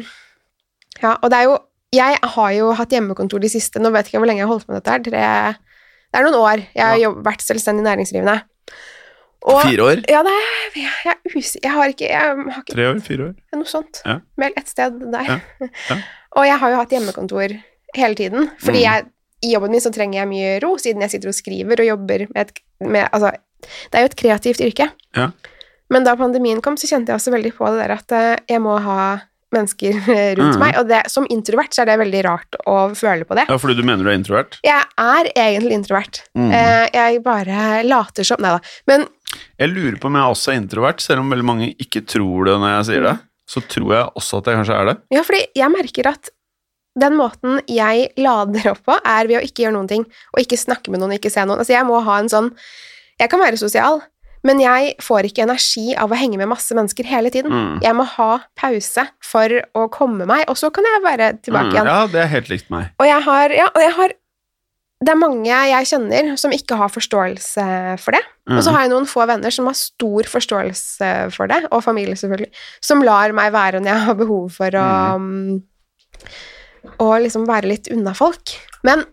[SPEAKER 1] ja, og det er jo Jeg har jo hatt hjemmekontor de siste Nå vet jeg ikke hvor lenge jeg har holdt på med dette her. Tre, det er noen år. Jeg har
[SPEAKER 2] Ja.
[SPEAKER 1] jobb, vært selvstendig næringsdrivende. Og,
[SPEAKER 2] Fire år?
[SPEAKER 1] ja, det er, jeg, er us- jeg har ikke, jeg har ikke
[SPEAKER 2] Tre år? Fire år?
[SPEAKER 1] noe sånt.
[SPEAKER 2] Ja.
[SPEAKER 1] Vel, et sted der.
[SPEAKER 2] Ja, ja.
[SPEAKER 1] og jeg har jo hatt hjemmekontor hele tiden, fordi
[SPEAKER 2] Mm.
[SPEAKER 1] jeg, i jobben min så trenger jeg mye ro, siden jeg sitter og skriver og jobber med et med, Altså, det er jo et kreativt yrke.
[SPEAKER 2] Ja.
[SPEAKER 1] Men da pandemien kom, så kjente jeg også veldig på det der at eh, jeg må ha mennesker eh, rundt
[SPEAKER 2] Mm.
[SPEAKER 1] meg, og det, som introvert så er det veldig rart å føle på det.
[SPEAKER 2] Ja, fordi du mener du er introvert?
[SPEAKER 1] Jeg er egentlig introvert.
[SPEAKER 2] Mm.
[SPEAKER 1] Eh, Jeg bare later som Nei da. Men
[SPEAKER 2] Jeg lurer på om jeg også er introvert, selv om veldig mange ikke tror det når jeg sier det. Så tror jeg også at jeg kanskje er det.
[SPEAKER 1] Ja, fordi jeg merker at den måten jeg lader opp på, er ved å ikke gjøre noen ting, og ikke snakke med noen, ikke se noen. Altså, jeg må ha en sånn Jeg kan være sosial, men jeg får ikke energi av å henge med masse mennesker hele tiden.
[SPEAKER 2] Mm.
[SPEAKER 1] Jeg må ha pause for å komme meg, og så kan jeg være tilbake
[SPEAKER 2] Mm,
[SPEAKER 1] igjen.
[SPEAKER 2] Ja, det er helt likt meg.
[SPEAKER 1] Og jeg har Ja, og jeg har Det er mange jeg kjenner som ikke har forståelse for det.
[SPEAKER 2] Mm.
[SPEAKER 1] Og så har jeg noen få venner som har stor forståelse for det, og familie selvfølgelig, som lar meg være når jeg har behov for å
[SPEAKER 2] Mhm.
[SPEAKER 1] mm, Å liksom være litt unna folk. Men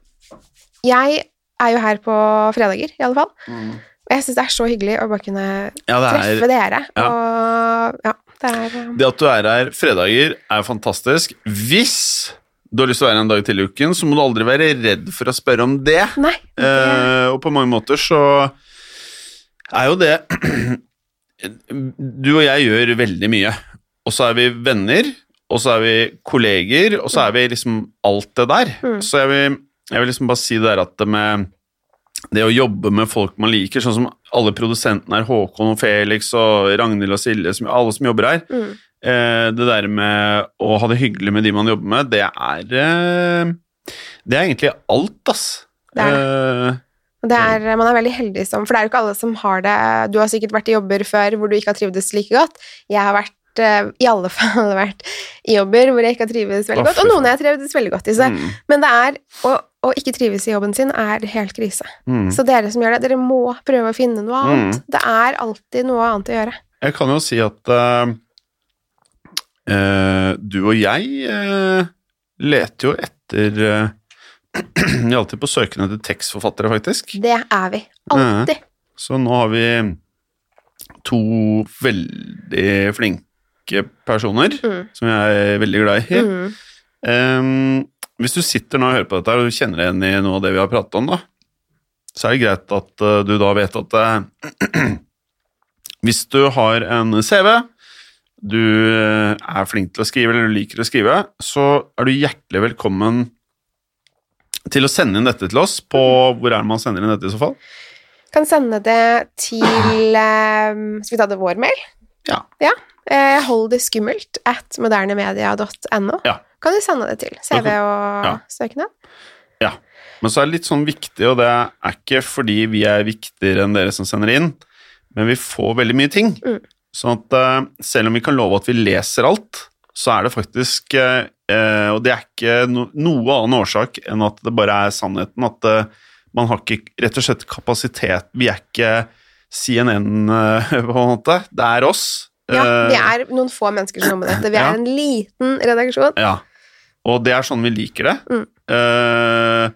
[SPEAKER 1] jeg er jo her på fredager, i alle fall.
[SPEAKER 2] Mm.
[SPEAKER 1] Og jeg syns det er så hyggelig å bare kunne
[SPEAKER 2] Ja, det er
[SPEAKER 1] treffe dere.
[SPEAKER 2] ja.
[SPEAKER 1] Og ja, det er um,
[SPEAKER 2] Det at du er her fredager, er fantastisk. Hvis du har lyst til å være her en dag til i uken, så må du aldri være redd for å spørre om det.
[SPEAKER 1] Nei. Det,
[SPEAKER 2] Eh, og på mange måter så er jo det Du og jeg gjør veldig mye. Og så er vi venner, og så er vi kolleger, og så er vi liksom alt det der.
[SPEAKER 1] Mm.
[SPEAKER 2] Så jeg vil, jeg vil liksom bare si det der at det med det å jobbe med folk man liker, sånn som alle produsentene her, Håkon og Felix og Ragnhild og Silje, som, alle som jobber her,
[SPEAKER 1] mm,
[SPEAKER 2] Eh, det der med å ha det hyggelig med de man jobber med, det er eh, Det er egentlig alt, ass.
[SPEAKER 1] Det er
[SPEAKER 2] Eh,
[SPEAKER 1] og det er, man er veldig heldig som For det er jo ikke alle som har det Du har sikkert vært i jobber før hvor du ikke har trivdes like godt. Jeg har vært eh, i alle fall vært i jobber hvor jeg ikke har trivdes veldig
[SPEAKER 2] Å,
[SPEAKER 1] godt, og
[SPEAKER 2] fy
[SPEAKER 1] noen jeg har trivdes veldig godt i. Så.
[SPEAKER 2] mm,
[SPEAKER 1] Men det er å, å ikke trives i jobben sin er helt krise.
[SPEAKER 2] mm.
[SPEAKER 1] Så dere som gjør det, dere må prøve å finne noe
[SPEAKER 2] Mm.
[SPEAKER 1] annet. Det er alltid noe annet å gjøre.
[SPEAKER 2] Jeg kan jo si at eh, eh, du og jeg eh, leter jo etter eh, Vi er alltid på søken etter tekstforfattere, faktisk.
[SPEAKER 1] Det er vi. Alltid.
[SPEAKER 2] Så nå har vi to veldig flinke personer
[SPEAKER 1] Mm.
[SPEAKER 2] som jeg er veldig glad i.
[SPEAKER 1] Mm.
[SPEAKER 2] Ehm, hvis du sitter nå og hører på dette her, og du kjenner deg igjen i noe av det vi har pratet om, da, så er det greit at eh, du da vet at eh, hvis du har en CV, du eh, er flink til å skrive eller du liker å skrive, så er du hjertelig velkommen til å sende inn dette til oss på Hvor er det man sender inn dette i så fall?
[SPEAKER 1] Kan sende det til eh, Skal vi ta det vår mail?
[SPEAKER 2] Ja.
[SPEAKER 1] Eh, Hold det skummelt at modernemedia.no.
[SPEAKER 2] Ja.
[SPEAKER 1] Kan du sende det til CV og
[SPEAKER 2] Ja.
[SPEAKER 1] søknad?
[SPEAKER 2] Men så er det litt sånn viktig, og det er ikke fordi vi er viktigere enn dere som sender inn, men vi får veldig mye ting.
[SPEAKER 1] Mm.
[SPEAKER 2] Sånn at eh, selv om vi kan love at vi leser alt, så er det faktisk eh, eh, Og det er ikke no, noe annen årsak enn at det bare er sannheten. At eh, man har ikke rett og slett kapasitet Vi er ikke CNN, eh, på en måte. Det er oss.
[SPEAKER 1] Ja, vi
[SPEAKER 2] Eh,
[SPEAKER 1] er noen få mennesker som jobber med dette. Vi
[SPEAKER 2] Ja.
[SPEAKER 1] er en liten redaksjon.
[SPEAKER 2] ja. Og det er sånn vi liker det.
[SPEAKER 1] Mm.
[SPEAKER 2] Eh,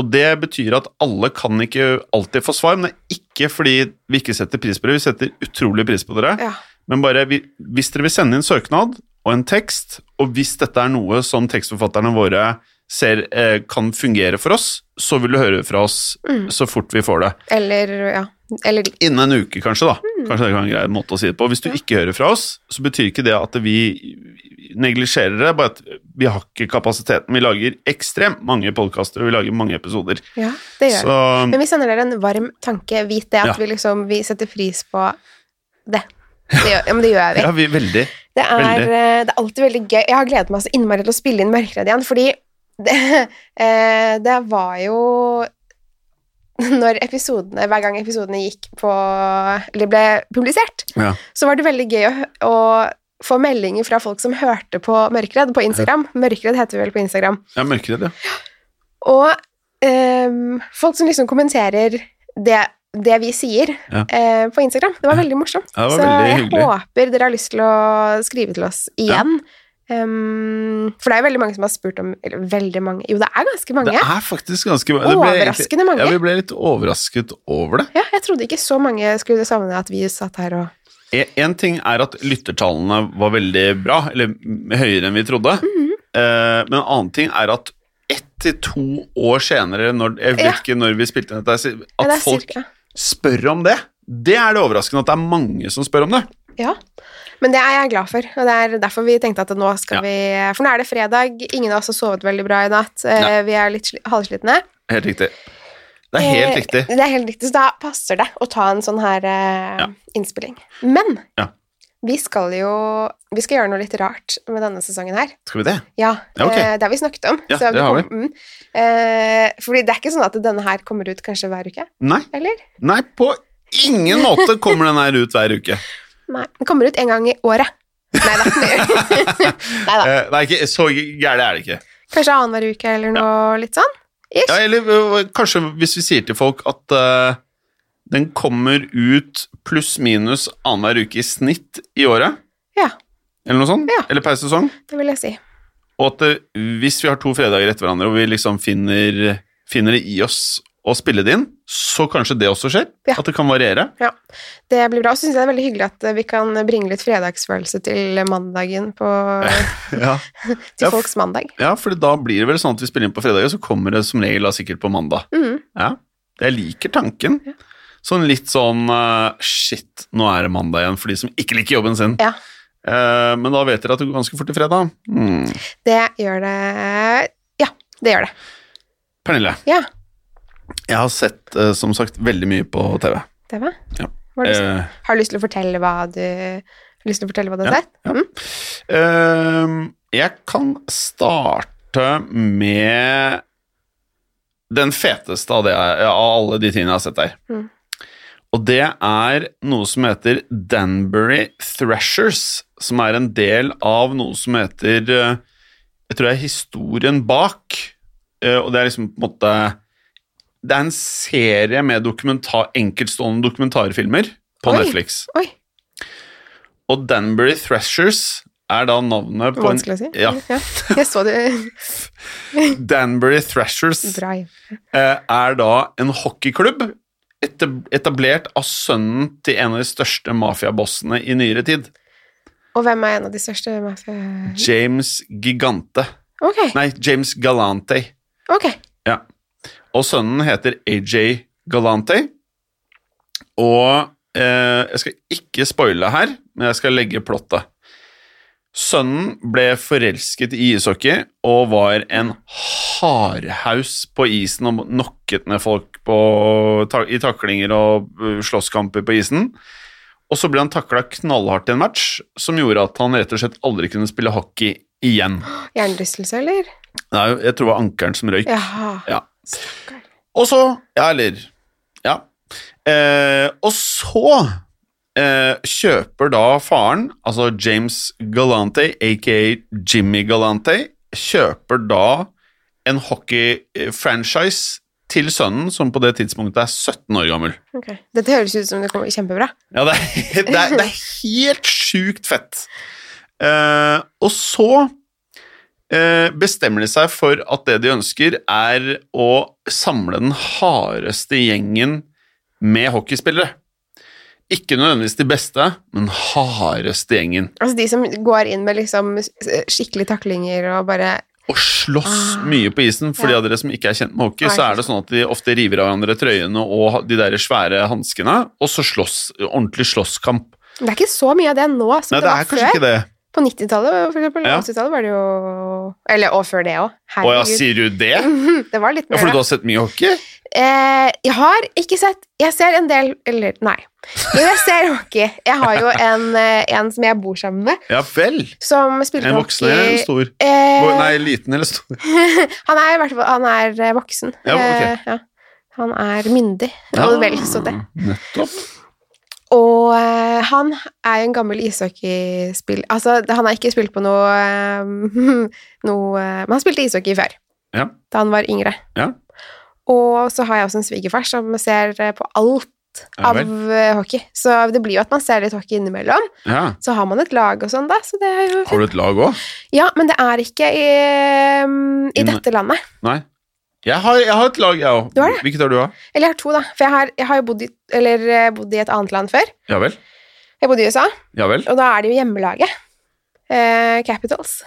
[SPEAKER 2] og det betyr at alle kan ikke alltid få svar, men det er ikke fordi vi ikke setter pris på dere. Vi setter utrolig pris på dere.
[SPEAKER 1] Ja.
[SPEAKER 2] Men bare vi, hvis dere vil sende inn søknad og en tekst, og hvis dette er noe som tekstforfatterne våre ser eh, kan fungere for oss, så vil du høre fra oss
[SPEAKER 1] Mm.
[SPEAKER 2] så fort vi får det.
[SPEAKER 1] Eller ja. Eller
[SPEAKER 2] Innen en uke, kanskje. da.
[SPEAKER 1] Mm.
[SPEAKER 2] Kanskje det kan være en grei måte å si det på. Hvis du ikke hører fra oss, så betyr ikke det at vi neglisjerer det, bare at vi har ikke kapasiteten. Vi lager ekstremt mange podkaster, og vi lager mange episoder.
[SPEAKER 1] Ja, det gjør vi.
[SPEAKER 2] Så
[SPEAKER 1] Men vi sender dere en varm tanke. Vit det at
[SPEAKER 2] Ja.
[SPEAKER 1] vi liksom vi setter pris på det. det gjør, ja, men det gjør vi.
[SPEAKER 2] ja, vi er veldig
[SPEAKER 1] Det er,
[SPEAKER 2] Veldig.
[SPEAKER 1] eh, det er alltid veldig gøy. Jeg har gledet meg så innmari til å spille inn Mørkredd igjen, fordi det, eh, det var jo når episodene, hver gang episodene gikk på, eller ble publisert,
[SPEAKER 2] Ja.
[SPEAKER 1] så var det veldig gøy å, å få meldinger fra folk som hørte på Mørkredd på Instagram. Mørkredd heter vi vel på Instagram.
[SPEAKER 2] Jeg er mørkeredd, ja.
[SPEAKER 1] Og ehm, folk som liksom kommenterer det, det vi sier
[SPEAKER 2] Ja.
[SPEAKER 1] eh, på Instagram. Det var veldig morsomt.
[SPEAKER 2] Ja, det var
[SPEAKER 1] så
[SPEAKER 2] veldig
[SPEAKER 1] jeg
[SPEAKER 2] hyggelig.
[SPEAKER 1] håper dere har lyst til å skrive til oss igjen. Ehm, for det er jo veldig mange som har spurt om Eller veldig mange Jo, det er ganske mange.
[SPEAKER 2] Det er faktisk ganske det ble egentlig-
[SPEAKER 1] Overraskende mange.
[SPEAKER 2] Ja, vi ble litt overrasket over det.
[SPEAKER 1] Ja, jeg trodde ikke så mange skulle savne at vi satt her og
[SPEAKER 2] E- En ting er at lyttertallene var veldig bra, eller m- høyere enn vi trodde.
[SPEAKER 1] Mm-hmm.
[SPEAKER 2] Eh, Men en annen ting er at ett til to år senere, når, jeg vet
[SPEAKER 1] Ja.
[SPEAKER 2] ikke når vi spilte inn dette, si-
[SPEAKER 1] Ja, det
[SPEAKER 2] at
[SPEAKER 1] er
[SPEAKER 2] folk
[SPEAKER 1] cirka.
[SPEAKER 2] spør om det. Det er det overraskende at det er mange som spør om det.
[SPEAKER 1] Ja. Men det er jeg glad for, og det er derfor vi tenkte at nå skal
[SPEAKER 2] Ja.
[SPEAKER 1] vi For nå er det fredag, ingen av oss har sovet veldig bra i natt, eh,
[SPEAKER 2] Nei.
[SPEAKER 1] vi er litt sli- halvslitne.
[SPEAKER 2] Helt riktig. Det er helt
[SPEAKER 1] Eh,
[SPEAKER 2] riktig.
[SPEAKER 1] Det er helt riktig, så da passer det å ta en sånn her eh,
[SPEAKER 2] Ja.
[SPEAKER 1] innspilling. Men
[SPEAKER 2] Ja.
[SPEAKER 1] vi skal jo Vi skal gjøre noe litt rart med denne sesongen her.
[SPEAKER 2] Skal vi det?
[SPEAKER 1] Ja,
[SPEAKER 2] Ja, ok.
[SPEAKER 1] eh, det har vi snakket om.
[SPEAKER 2] Ja,
[SPEAKER 1] så
[SPEAKER 2] det har vi.
[SPEAKER 1] kom- mm. Eh, fordi det er ikke sånn at denne her kommer ut kanskje hver uke,
[SPEAKER 2] Nei.
[SPEAKER 1] eller?
[SPEAKER 2] Nei, på ingen måte kommer den her ut hver uke.
[SPEAKER 1] Nei, den kommer ut en gang i året. Nei da. Neida.
[SPEAKER 2] Eh, Nei, ikke, så gærent er det ikke.
[SPEAKER 1] Kanskje annenhver uke eller noe litt sånn. Ish.
[SPEAKER 2] Ja, eller ø, kanskje hvis vi sier til folk at eh, den kommer ut pluss-minus annenhver uke i snitt i året,
[SPEAKER 1] Ja,
[SPEAKER 2] eller noe sånt,
[SPEAKER 1] Ja.
[SPEAKER 2] eller per sesong,
[SPEAKER 1] det vil jeg si.
[SPEAKER 2] og at det, hvis vi har to fredager etter hverandre, og vi liksom finner, finner det i oss å spille det inn, så kanskje det også skjer,
[SPEAKER 1] Ja.
[SPEAKER 2] at det kan variere.
[SPEAKER 1] Det blir bra. Og så syns jeg det er veldig hyggelig at eh, vi kan bringe litt fredagsfølelse til mandagen på
[SPEAKER 2] Ja.
[SPEAKER 1] Til
[SPEAKER 2] Ja, f-
[SPEAKER 1] folks mandag.
[SPEAKER 2] for da blir det vel sånn at vi spiller inn på fredager, så kommer det som regel da sikkert på mandag.
[SPEAKER 1] Mm.
[SPEAKER 2] Ja, jeg liker tanken. Sånn litt sånn eh, Shit, nå er det mandag igjen for de som ikke liker jobben sin.
[SPEAKER 1] Ja.
[SPEAKER 2] Eh, men da vet dere at det går ganske fort til fredag. Hmm.
[SPEAKER 1] Det gjør det Ja, det gjør det.
[SPEAKER 2] Pernille,
[SPEAKER 1] Ja,
[SPEAKER 2] jeg har sett eh, som sagt veldig mye på TV.
[SPEAKER 1] det var
[SPEAKER 2] Ja.
[SPEAKER 1] Hva har, du lyst
[SPEAKER 2] Eh,
[SPEAKER 1] har du lyst til å fortelle hva du har lyst til å fortelle hva du har
[SPEAKER 2] Ja,
[SPEAKER 1] sett?
[SPEAKER 2] ja.
[SPEAKER 1] Mm?
[SPEAKER 2] eh, jeg kan starte med den feteste av, det, jeg- av alle de tingene jeg har sett der.
[SPEAKER 1] Mm.
[SPEAKER 2] Og det er noe som heter Danbury Thrashers, som er en del av noe som heter eh, Jeg tror det er historien bak. Eh, Og det er liksom på en måte Det er en serie med dokumentar, enkeltstående dokumentarfilmer på
[SPEAKER 1] Oi.
[SPEAKER 2] Netflix.
[SPEAKER 1] Oi,
[SPEAKER 2] Og Danbury Thrashers er da navnet på en
[SPEAKER 1] vanskelig å si.
[SPEAKER 2] Ja.
[SPEAKER 1] Jeg så det
[SPEAKER 2] Danbury Thrashers
[SPEAKER 1] Bra. ja.
[SPEAKER 2] eh, er da en hockeyklubb etab- etablert av sønnen til en av de største mafiabossene i nyere tid.
[SPEAKER 1] Og hvem er en av de største mafia...
[SPEAKER 2] James Gigante.
[SPEAKER 1] Ok,
[SPEAKER 2] Nei, James Galante.
[SPEAKER 1] ok.
[SPEAKER 2] Ja. Og sønnen heter AJ Galante. Og eh, jeg skal ikke spoile her, men jeg skal legge plottet. Sønnen ble forelsket i ishockey og var en hardhaus på isen og knocket ned folk på, ta, i taklinger og uh, slåsskamper på isen. Og så ble han takla knallhardt i en match som gjorde at han rett og slett aldri kunne spille hockey igjen.
[SPEAKER 1] Hjernerystelse, eller?
[SPEAKER 2] Nei, jeg tror det var ankelen som røyk.
[SPEAKER 1] Jaha.
[SPEAKER 2] Ja.
[SPEAKER 1] Stakkar.
[SPEAKER 2] Og så Ja, eller Ja. Eh, og så eh, kjøper da faren, altså James Galante, aka Jimmy Galante, kjøper da en hockeyfranchise til sønnen, som på det tidspunktet er 17 år gammel.
[SPEAKER 1] Ok. Dette høres ut som det kommer kjempebra.
[SPEAKER 2] Ja, det er, det er, det er helt sjukt fett. Eh, og så eh, bestemmer de seg for at det de ønsker, er å samle den hardeste gjengen med hockeyspillere. Ikke nødvendigvis de beste, men hardeste gjengen.
[SPEAKER 1] Altså de som går inn med liksom skikkelig taklinger og bare
[SPEAKER 2] Og slåss
[SPEAKER 1] Ah.
[SPEAKER 2] mye på isen. For de
[SPEAKER 1] Ja.
[SPEAKER 2] av dere som ikke er kjent med hockey,
[SPEAKER 1] Nei,
[SPEAKER 2] så er det sånn at de ofte river av hverandre trøyene og ha- de der svære hanskene, og så slåss. Ordentlig slåsskamp.
[SPEAKER 1] Det er ikke så mye av det nå som
[SPEAKER 2] Nei,
[SPEAKER 1] det
[SPEAKER 2] det
[SPEAKER 1] var
[SPEAKER 2] er
[SPEAKER 1] før.
[SPEAKER 2] kanskje ikke det.
[SPEAKER 1] På 90-tallet, for eksempel.
[SPEAKER 2] Ja.
[SPEAKER 1] 80-tallet var det jo Eller og før det òg.
[SPEAKER 2] Å ja, sier du det?
[SPEAKER 1] Mhm, Det var litt
[SPEAKER 2] Ja,
[SPEAKER 1] mer
[SPEAKER 2] fordi du
[SPEAKER 1] da.
[SPEAKER 2] har sett mye hockey?
[SPEAKER 1] Eh, jeg har ikke sett Jeg ser en del Eller, nei. Jo, jeg ser hockey. Jeg har jo en, eh, en som jeg bor sammen med,
[SPEAKER 2] Ja vel.
[SPEAKER 1] som spilte
[SPEAKER 2] En voksen eller en
[SPEAKER 1] hockey.
[SPEAKER 2] stor?
[SPEAKER 1] Eh,
[SPEAKER 2] Hvor- Nei, liten eller stor?
[SPEAKER 1] han er i hvert fall Han er eh, voksen.
[SPEAKER 2] Ja, ok.
[SPEAKER 1] Eh, ja. Han er myndig,
[SPEAKER 2] Ja,
[SPEAKER 1] og vel så det.
[SPEAKER 2] Nettopp.
[SPEAKER 1] Og eh, han er jo en gammel ishockeyspill... Altså, han har ikke spilt på noe, eh, noe eh, Men han spilte ishockey før,
[SPEAKER 2] Ja.
[SPEAKER 1] da han var yngre.
[SPEAKER 2] Ja.
[SPEAKER 1] Og så har jeg også en svigerfar som ser eh, på alt
[SPEAKER 2] Ja
[SPEAKER 1] av
[SPEAKER 2] vel.
[SPEAKER 1] eh, hockey. Så det blir jo at man ser litt hockey innimellom.
[SPEAKER 2] ja.
[SPEAKER 1] Så har man et lag og sånn, da. Så det er jo
[SPEAKER 2] Har du et lag òg?
[SPEAKER 1] Ja, men det er ikke i, eh, i
[SPEAKER 2] Inn-
[SPEAKER 1] dette landet.
[SPEAKER 2] Nei. Jeg har, jeg har et lag, jeg òg.
[SPEAKER 1] Du har det?
[SPEAKER 2] Hvilket har du, da?
[SPEAKER 1] Eller jeg har to, da. For jeg har, jeg har jo bodd i, eller, eh, bodd i et annet land før.
[SPEAKER 2] Ja vel?
[SPEAKER 1] Jeg bodde i USA,
[SPEAKER 2] Ja vel?
[SPEAKER 1] og da er det jo hjemmelaget. Eh, Capitals.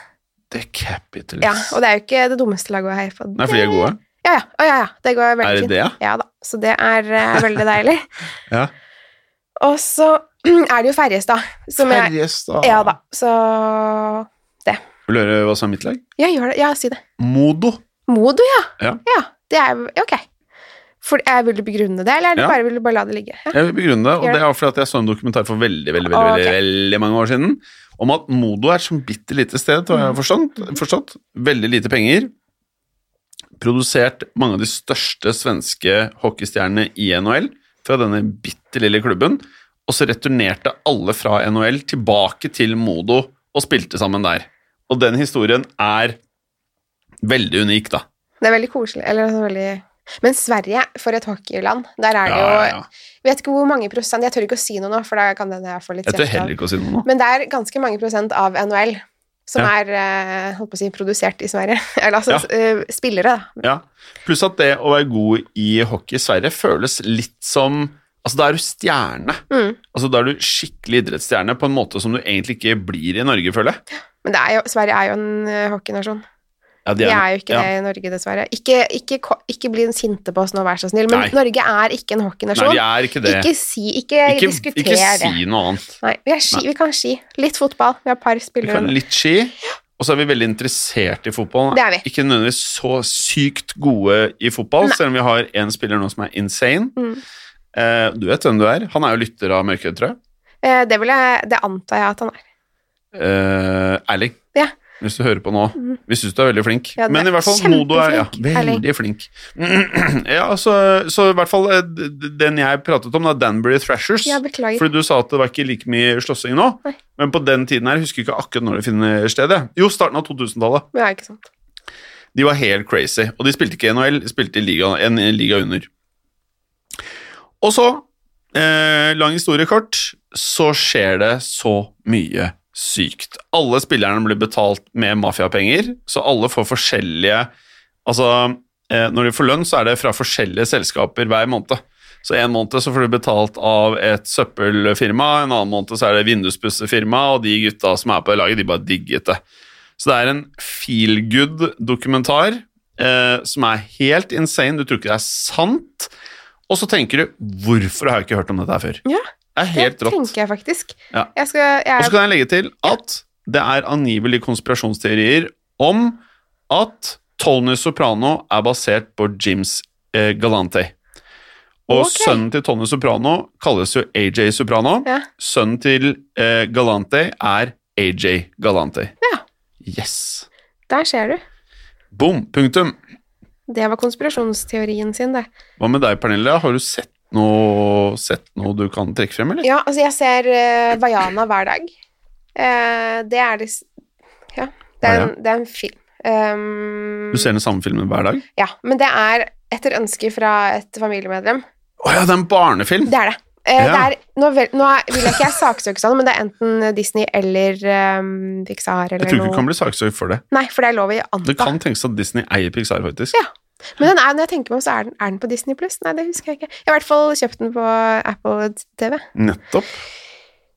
[SPEAKER 2] The Capitals.
[SPEAKER 1] Ja, og det er jo ikke det dummeste laget å heie på.
[SPEAKER 2] Nei, for de er gode.
[SPEAKER 1] Ja, ja. Å, ja, ja. Det går veldig
[SPEAKER 2] Er det
[SPEAKER 1] fint.
[SPEAKER 2] det, ja?
[SPEAKER 1] Ja da. Så det er eh, veldig deilig.
[SPEAKER 2] Ja.
[SPEAKER 1] Og så er det jo Ferjestad, som jeg
[SPEAKER 2] Ferjestad.
[SPEAKER 1] Ja da. Så
[SPEAKER 2] Vil du høre hva som er mitt lag?
[SPEAKER 1] Ja, gjør det. Ja, si det.
[SPEAKER 2] Modo.
[SPEAKER 1] Modo, ja.
[SPEAKER 2] Ja.
[SPEAKER 1] det er Ok. For, jeg vil du begrunne det, eller er det
[SPEAKER 2] Ja.
[SPEAKER 1] bare vil du bare la det ligge? Ja.
[SPEAKER 2] Jeg vil begrunne det, og
[SPEAKER 1] Gjør
[SPEAKER 2] det er fordi at jeg så en dokumentar for veldig veldig, veldig,
[SPEAKER 1] Ok.
[SPEAKER 2] veldig, veldig mange år siden om at Modo er som bitte lite sted, tror
[SPEAKER 1] Mm.
[SPEAKER 2] jeg jeg har forstått, forstått. Veldig lite penger. Produsert mange av de største svenske hockeystjernene i NHL fra denne bitte lille klubben. Og så returnerte alle fra NHL tilbake til Modo og spilte sammen der. Og den historien er veldig unik, da.
[SPEAKER 1] Det er veldig koselig. Eller sånn veldig Men Sverige, for et hockeyland, der er det jo
[SPEAKER 2] Ja, ja, ja.
[SPEAKER 1] Jeg vet ikke hvor mange prosent Jeg tør ikke å si noe nå, for da kan det jeg får litt
[SPEAKER 2] Jeg tør
[SPEAKER 1] kjeft av.
[SPEAKER 2] heller ikke å si noe nå.
[SPEAKER 1] Men det er ganske mange prosent av NHL som
[SPEAKER 2] Ja.
[SPEAKER 1] er eh, holdt på å si, produsert i Sverige. Eller altså
[SPEAKER 2] Ja.
[SPEAKER 1] eh, spillere, da.
[SPEAKER 2] Ja, pluss at det å være god i hockey i Sverige føles litt som Altså, da er du stjerne.
[SPEAKER 1] Mm.
[SPEAKER 2] Altså, Da er du skikkelig idrettsstjerne på en måte som du egentlig ikke blir i Norge, føler jeg.
[SPEAKER 1] Men det er jo, Sverige er jo en eh, hockeynasjon.
[SPEAKER 2] Ja, de
[SPEAKER 1] Vi
[SPEAKER 2] er-
[SPEAKER 1] er jo ikke
[SPEAKER 2] ja.
[SPEAKER 1] det i Norge, dessverre. Ikke, ikke, ko- ikke bli en sinte på oss nå, vær så snill, men
[SPEAKER 2] Nei.
[SPEAKER 1] Norge er ikke en
[SPEAKER 2] Nei,
[SPEAKER 1] hockeynasjon.
[SPEAKER 2] de er ikke det.
[SPEAKER 1] Ikke si Ikke,
[SPEAKER 2] ikke,
[SPEAKER 1] diskuter det.
[SPEAKER 2] ikke si noe annet.
[SPEAKER 1] Nei, vi, er ski, vi kan ski. Litt fotball. Vi har par
[SPEAKER 2] Vi kan
[SPEAKER 1] spillere.
[SPEAKER 2] litt ski, og så er vi veldig interessert i fotball.
[SPEAKER 1] Det er vi.
[SPEAKER 2] Ikke nødvendigvis så sykt gode i fotball,
[SPEAKER 1] Nei.
[SPEAKER 2] selv om vi har en spiller nå som er insane.
[SPEAKER 1] Mm.
[SPEAKER 2] Eh, du vet hvem du er. Han er jo lytter av Mørkøyd, tror jeg.
[SPEAKER 1] Eh, Det, vil jeg, det antar jeg at han er.
[SPEAKER 2] Eh, Erling,
[SPEAKER 1] Ja.
[SPEAKER 2] hvis du hører på nå,
[SPEAKER 1] Mhm.
[SPEAKER 2] vi syns du er veldig flink.
[SPEAKER 1] Ja, du
[SPEAKER 2] Men
[SPEAKER 1] er
[SPEAKER 2] i hvert fall, Modo er ja,
[SPEAKER 1] kjempeflink,
[SPEAKER 2] veldig flink. ja, så, så i hvert fall eh, d- d- den jeg pratet om, da, Danbury Thrashers.
[SPEAKER 1] Ja, beklager.
[SPEAKER 2] fordi du sa at det var ikke like mye slåssing nå,
[SPEAKER 1] Nei.
[SPEAKER 2] men på den tiden her, jeg husker ikke akkurat når det finner sted. jeg. Jo, starten av 2000-tallet.
[SPEAKER 1] Ja, ikke sant.
[SPEAKER 2] De var helt crazy, og de spilte ikke i NHL, de spilte i liga, en liga under. Og så, eh, lang historie kort, så skjer det så mye sykt. Alle spillerne blir betalt med mafiapenger, så alle får forskjellige Altså, eh, når de får lønn, så er det fra forskjellige selskaper hver måned. Så en måned så får du betalt av et søppelfirma, en annen måned så er det vindusspussefirma, og de gutta som er på det laget, de bare digget det. Så det er en feel good dokumentar eh, som er helt insane. Du tror ikke det er sant. Og så tenker du 'hvorfor har jeg ikke hørt om dette her før'?
[SPEAKER 1] Ja,
[SPEAKER 2] det er helt
[SPEAKER 1] det
[SPEAKER 2] rått.
[SPEAKER 1] tenker jeg faktisk.
[SPEAKER 2] Ja.
[SPEAKER 1] Jeg skal, jeg,
[SPEAKER 2] Og så kan jeg legge til at det er angivelig konspirasjonsteorier om at Tony Soprano er basert på Jims eh, Galante. Og
[SPEAKER 1] Ok.
[SPEAKER 2] sønnen til Tony Soprano kalles jo AJ Soprano.
[SPEAKER 1] Ja.
[SPEAKER 2] Sønnen til eh, Galante er AJ Galante.
[SPEAKER 1] Ja.
[SPEAKER 2] Yes.
[SPEAKER 1] Der ser du.
[SPEAKER 2] Boom. Punktum.
[SPEAKER 1] Det var konspirasjonsteorien sin, det.
[SPEAKER 2] Hva med deg, Pernille? Har du sett noe, sett noe du kan trekke frem, eller?
[SPEAKER 1] Ja, altså jeg ser eh, Vaiana hver dag. Eh, det er det s- Ja, det er en, det er en film. Um,
[SPEAKER 2] Du ser den samme filmen hver dag?
[SPEAKER 1] Ja, men det er etter ønske fra et familiemedlem.
[SPEAKER 2] Å ja, det er en barnefilm!
[SPEAKER 1] Det er det. Eh,
[SPEAKER 2] Ja.
[SPEAKER 1] det er, nå, vel, nå er- vil jeg ikke jeg saksøke sånn, men det er enten Disney eller um, Pixar eller
[SPEAKER 2] Jeg tror ikke
[SPEAKER 1] noe.
[SPEAKER 2] du kan bli saksøkt for det.
[SPEAKER 1] Nei, for det er lov i
[SPEAKER 2] Det
[SPEAKER 1] anta.
[SPEAKER 2] kan tenkes at Disney eier Pixar, faktisk.
[SPEAKER 1] Ja. Men den er, når jeg tenker meg om, så er den, er den på Disney pluss. Nei, det husker jeg ikke. Jeg har i hvert fall kjøpt den på Apple TV.
[SPEAKER 2] Nettopp.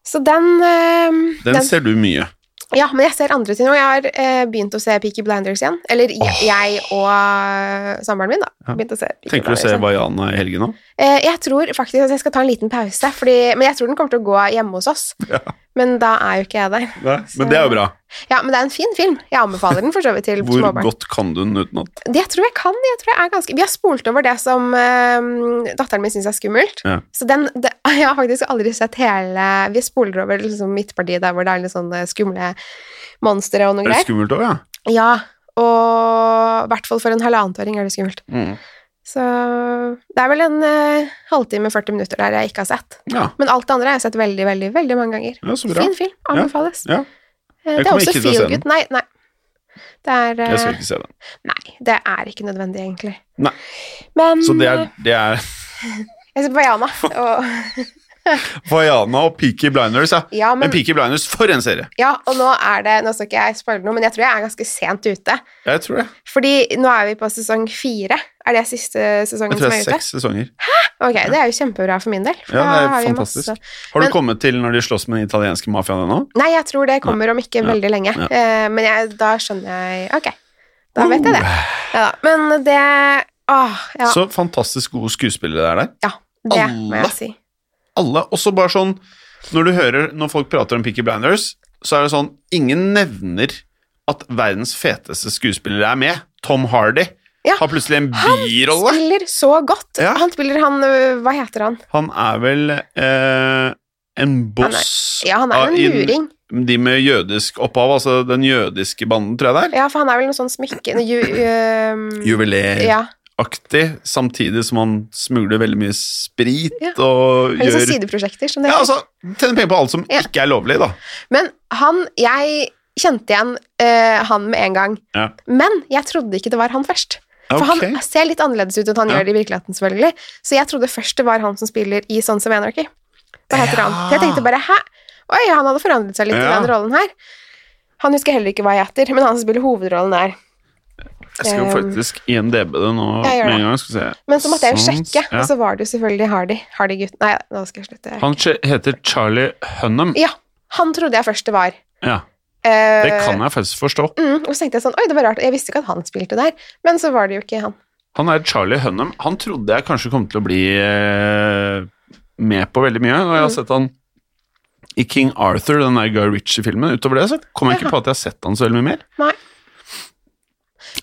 [SPEAKER 1] Så den, ehm,
[SPEAKER 2] Den, ser du mye.
[SPEAKER 1] Ja, men jeg ser andre ting nå. Jeg har eh, begynt å se Peaky Blinders igjen. Eller jeg,
[SPEAKER 2] Åh.
[SPEAKER 1] jeg og eh, samboeren min, da.
[SPEAKER 2] Ja.
[SPEAKER 1] Begynt å se Peaky
[SPEAKER 2] Tenker du å
[SPEAKER 1] Blinders
[SPEAKER 2] se
[SPEAKER 1] igjen.
[SPEAKER 2] Vaiana i helgen òg?
[SPEAKER 1] Eh, jeg tror faktisk at jeg skal ta en liten pause, fordi, men jeg tror den kommer til å gå hjemme hos oss.
[SPEAKER 2] Ja.
[SPEAKER 1] Men da er jo ikke jeg der.
[SPEAKER 2] Men det er jo bra.
[SPEAKER 1] Ja, men det er en fin film. Jeg anbefaler den for så vidt til
[SPEAKER 2] Hvor
[SPEAKER 1] småbarn.
[SPEAKER 2] godt kan du den utenat?
[SPEAKER 1] Det tror jeg kan. Jeg tror jeg er ganske... Vi har spolt over det som eh, datteren min syns er skummelt.
[SPEAKER 2] Ja.
[SPEAKER 1] Så den, det, jeg har faktisk aldri sett hele Vi spoler over liksom, midtpartiet der hvor det er litt sånne skumle monstre og noe
[SPEAKER 2] Er det
[SPEAKER 1] greier.
[SPEAKER 2] skummelt òg, ja? Mm.
[SPEAKER 1] Ja, og i hvert fall for en halvannetåring er det skummelt. Så det er vel en eh, halvtime, 40 minutter der jeg ikke har sett.
[SPEAKER 2] Ja,
[SPEAKER 1] Men alt det andre har jeg sett veldig, veldig veldig mange ganger.
[SPEAKER 2] ja så bra.
[SPEAKER 1] Fin film. Anbefales.
[SPEAKER 2] Ja.
[SPEAKER 1] Eh,
[SPEAKER 2] Jeg
[SPEAKER 1] Det er
[SPEAKER 2] kommer
[SPEAKER 1] også
[SPEAKER 2] ikke til å se
[SPEAKER 1] feel good. Nei, nei. Det er
[SPEAKER 2] Jeg skal
[SPEAKER 1] eh,
[SPEAKER 2] ikke se den.
[SPEAKER 1] Nei, det er ikke nødvendig, egentlig.
[SPEAKER 2] Nei.
[SPEAKER 1] Men
[SPEAKER 2] Så det er, det er
[SPEAKER 1] eh, Jeg ser på Vaiana, og
[SPEAKER 2] Vaiana og Peaky Blinders, ja.
[SPEAKER 1] Ja,
[SPEAKER 2] Men
[SPEAKER 1] men
[SPEAKER 2] Peaky Blinders, for en serie!
[SPEAKER 1] Ja, og nå er det Nå skal ikke jeg spoile noe, men jeg tror jeg er ganske sent ute.
[SPEAKER 2] Jeg tror det.
[SPEAKER 1] Fordi nå er vi på sesong fire. Er det siste sesongen
[SPEAKER 2] Jeg tror
[SPEAKER 1] som
[SPEAKER 2] det
[SPEAKER 1] er
[SPEAKER 2] er
[SPEAKER 1] ute?
[SPEAKER 2] seks sesonger.
[SPEAKER 1] Ok, det er jo kjempebra for min del. for
[SPEAKER 2] Ja,
[SPEAKER 1] da
[SPEAKER 2] det er
[SPEAKER 1] har vi
[SPEAKER 2] fantastisk.
[SPEAKER 1] masse-
[SPEAKER 2] Har du
[SPEAKER 1] Men-
[SPEAKER 2] kommet til når de slåss med den italienske mafiaen ennå?
[SPEAKER 1] Nei, jeg tror det kommer om ikke
[SPEAKER 2] Ja,
[SPEAKER 1] veldig lenge.
[SPEAKER 2] ja.
[SPEAKER 1] Eh, Men jeg, da skjønner jeg Ok, da vet jeg det. Ja, da. Men det Åh, ja.
[SPEAKER 2] Så fantastisk gode skuespillere det er der.
[SPEAKER 1] ja. Det må
[SPEAKER 2] Alle.
[SPEAKER 1] jeg si.
[SPEAKER 2] Alle. Også bare sånn Når du hører når folk prater om Peaky Blinders, så er det sånn Ingen nevner at verdens feteste skuespiller er med. Tom Hardy
[SPEAKER 1] Ja,
[SPEAKER 2] har plutselig en
[SPEAKER 1] han
[SPEAKER 2] birolle.
[SPEAKER 1] Spiller så godt.
[SPEAKER 2] Ja.
[SPEAKER 1] Han spiller han øh, Hva heter han?
[SPEAKER 2] Han er vel eh, en boss
[SPEAKER 1] Ja, han er
[SPEAKER 2] av-
[SPEAKER 1] jo en
[SPEAKER 2] i den-
[SPEAKER 1] luring.
[SPEAKER 2] De med jødisk opphav, altså den jødiske banden, tror jeg det er.
[SPEAKER 1] Ja, for han er vel noe sånn smykke ju, øhm,
[SPEAKER 2] Juveleraktig,
[SPEAKER 1] Ja.
[SPEAKER 2] samtidig som han smugler veldig mye sprit
[SPEAKER 1] Ja.
[SPEAKER 2] og
[SPEAKER 1] Det er Litt sånn
[SPEAKER 2] gjør
[SPEAKER 1] sideprosjekter. Som det
[SPEAKER 2] Ja,
[SPEAKER 1] heter.
[SPEAKER 2] altså, tjener penger på alt som
[SPEAKER 1] Ja.
[SPEAKER 2] ikke er lovlig, da.
[SPEAKER 1] Men han Jeg kjente igjen øh, han med en gang.
[SPEAKER 2] Ja.
[SPEAKER 1] Men jeg trodde ikke det var han først. For
[SPEAKER 2] Ok.
[SPEAKER 1] han ser litt annerledes ut enn han
[SPEAKER 2] Ja.
[SPEAKER 1] gjør det i virkeligheten, selvfølgelig. Så jeg trodde først det var han som spiller i Sons of Anarchy. Hva heter han?
[SPEAKER 2] Ja.
[SPEAKER 1] Så jeg tenkte bare hæ? Oi, han hadde forandret seg litt i
[SPEAKER 2] Ja.
[SPEAKER 1] den rollen her. Han husker heller ikke hva jeg heter, men han som spiller hovedrollen der.
[SPEAKER 2] Jeg skal
[SPEAKER 1] Ehm,
[SPEAKER 2] faktisk IMDb det nå
[SPEAKER 1] Ja, gjør
[SPEAKER 2] med
[SPEAKER 1] det.
[SPEAKER 2] en gang. skal vi se.
[SPEAKER 1] Men så måtte jeg jo
[SPEAKER 2] Sons-
[SPEAKER 1] sjekke,
[SPEAKER 2] Sånn,
[SPEAKER 1] altså.
[SPEAKER 2] ja.
[SPEAKER 1] og så var det jo selvfølgelig Hardy. Hardy-gutten. Nei, nå skal jeg slutte.
[SPEAKER 2] Han skje- heter Charlie Hunnam.
[SPEAKER 1] Ja, han trodde jeg først det var. Eh,
[SPEAKER 2] Ja, det kan jeg faktisk forstå.
[SPEAKER 1] Mm, og så tenkte jeg sånn, oi, det var rart, jeg visste ikke at han spilte der, men så var det jo ikke han.
[SPEAKER 2] Han er Charlie Hunnam. Han trodde jeg kanskje kom til å bli eh, med på veldig mye, og jeg har
[SPEAKER 1] Mm.
[SPEAKER 2] sett han i King Arthur, den der Guy Ritchie-filmen. Utover det så kommer jeg
[SPEAKER 1] Jaha.
[SPEAKER 2] ikke på at jeg har sett han så veldig mye mer.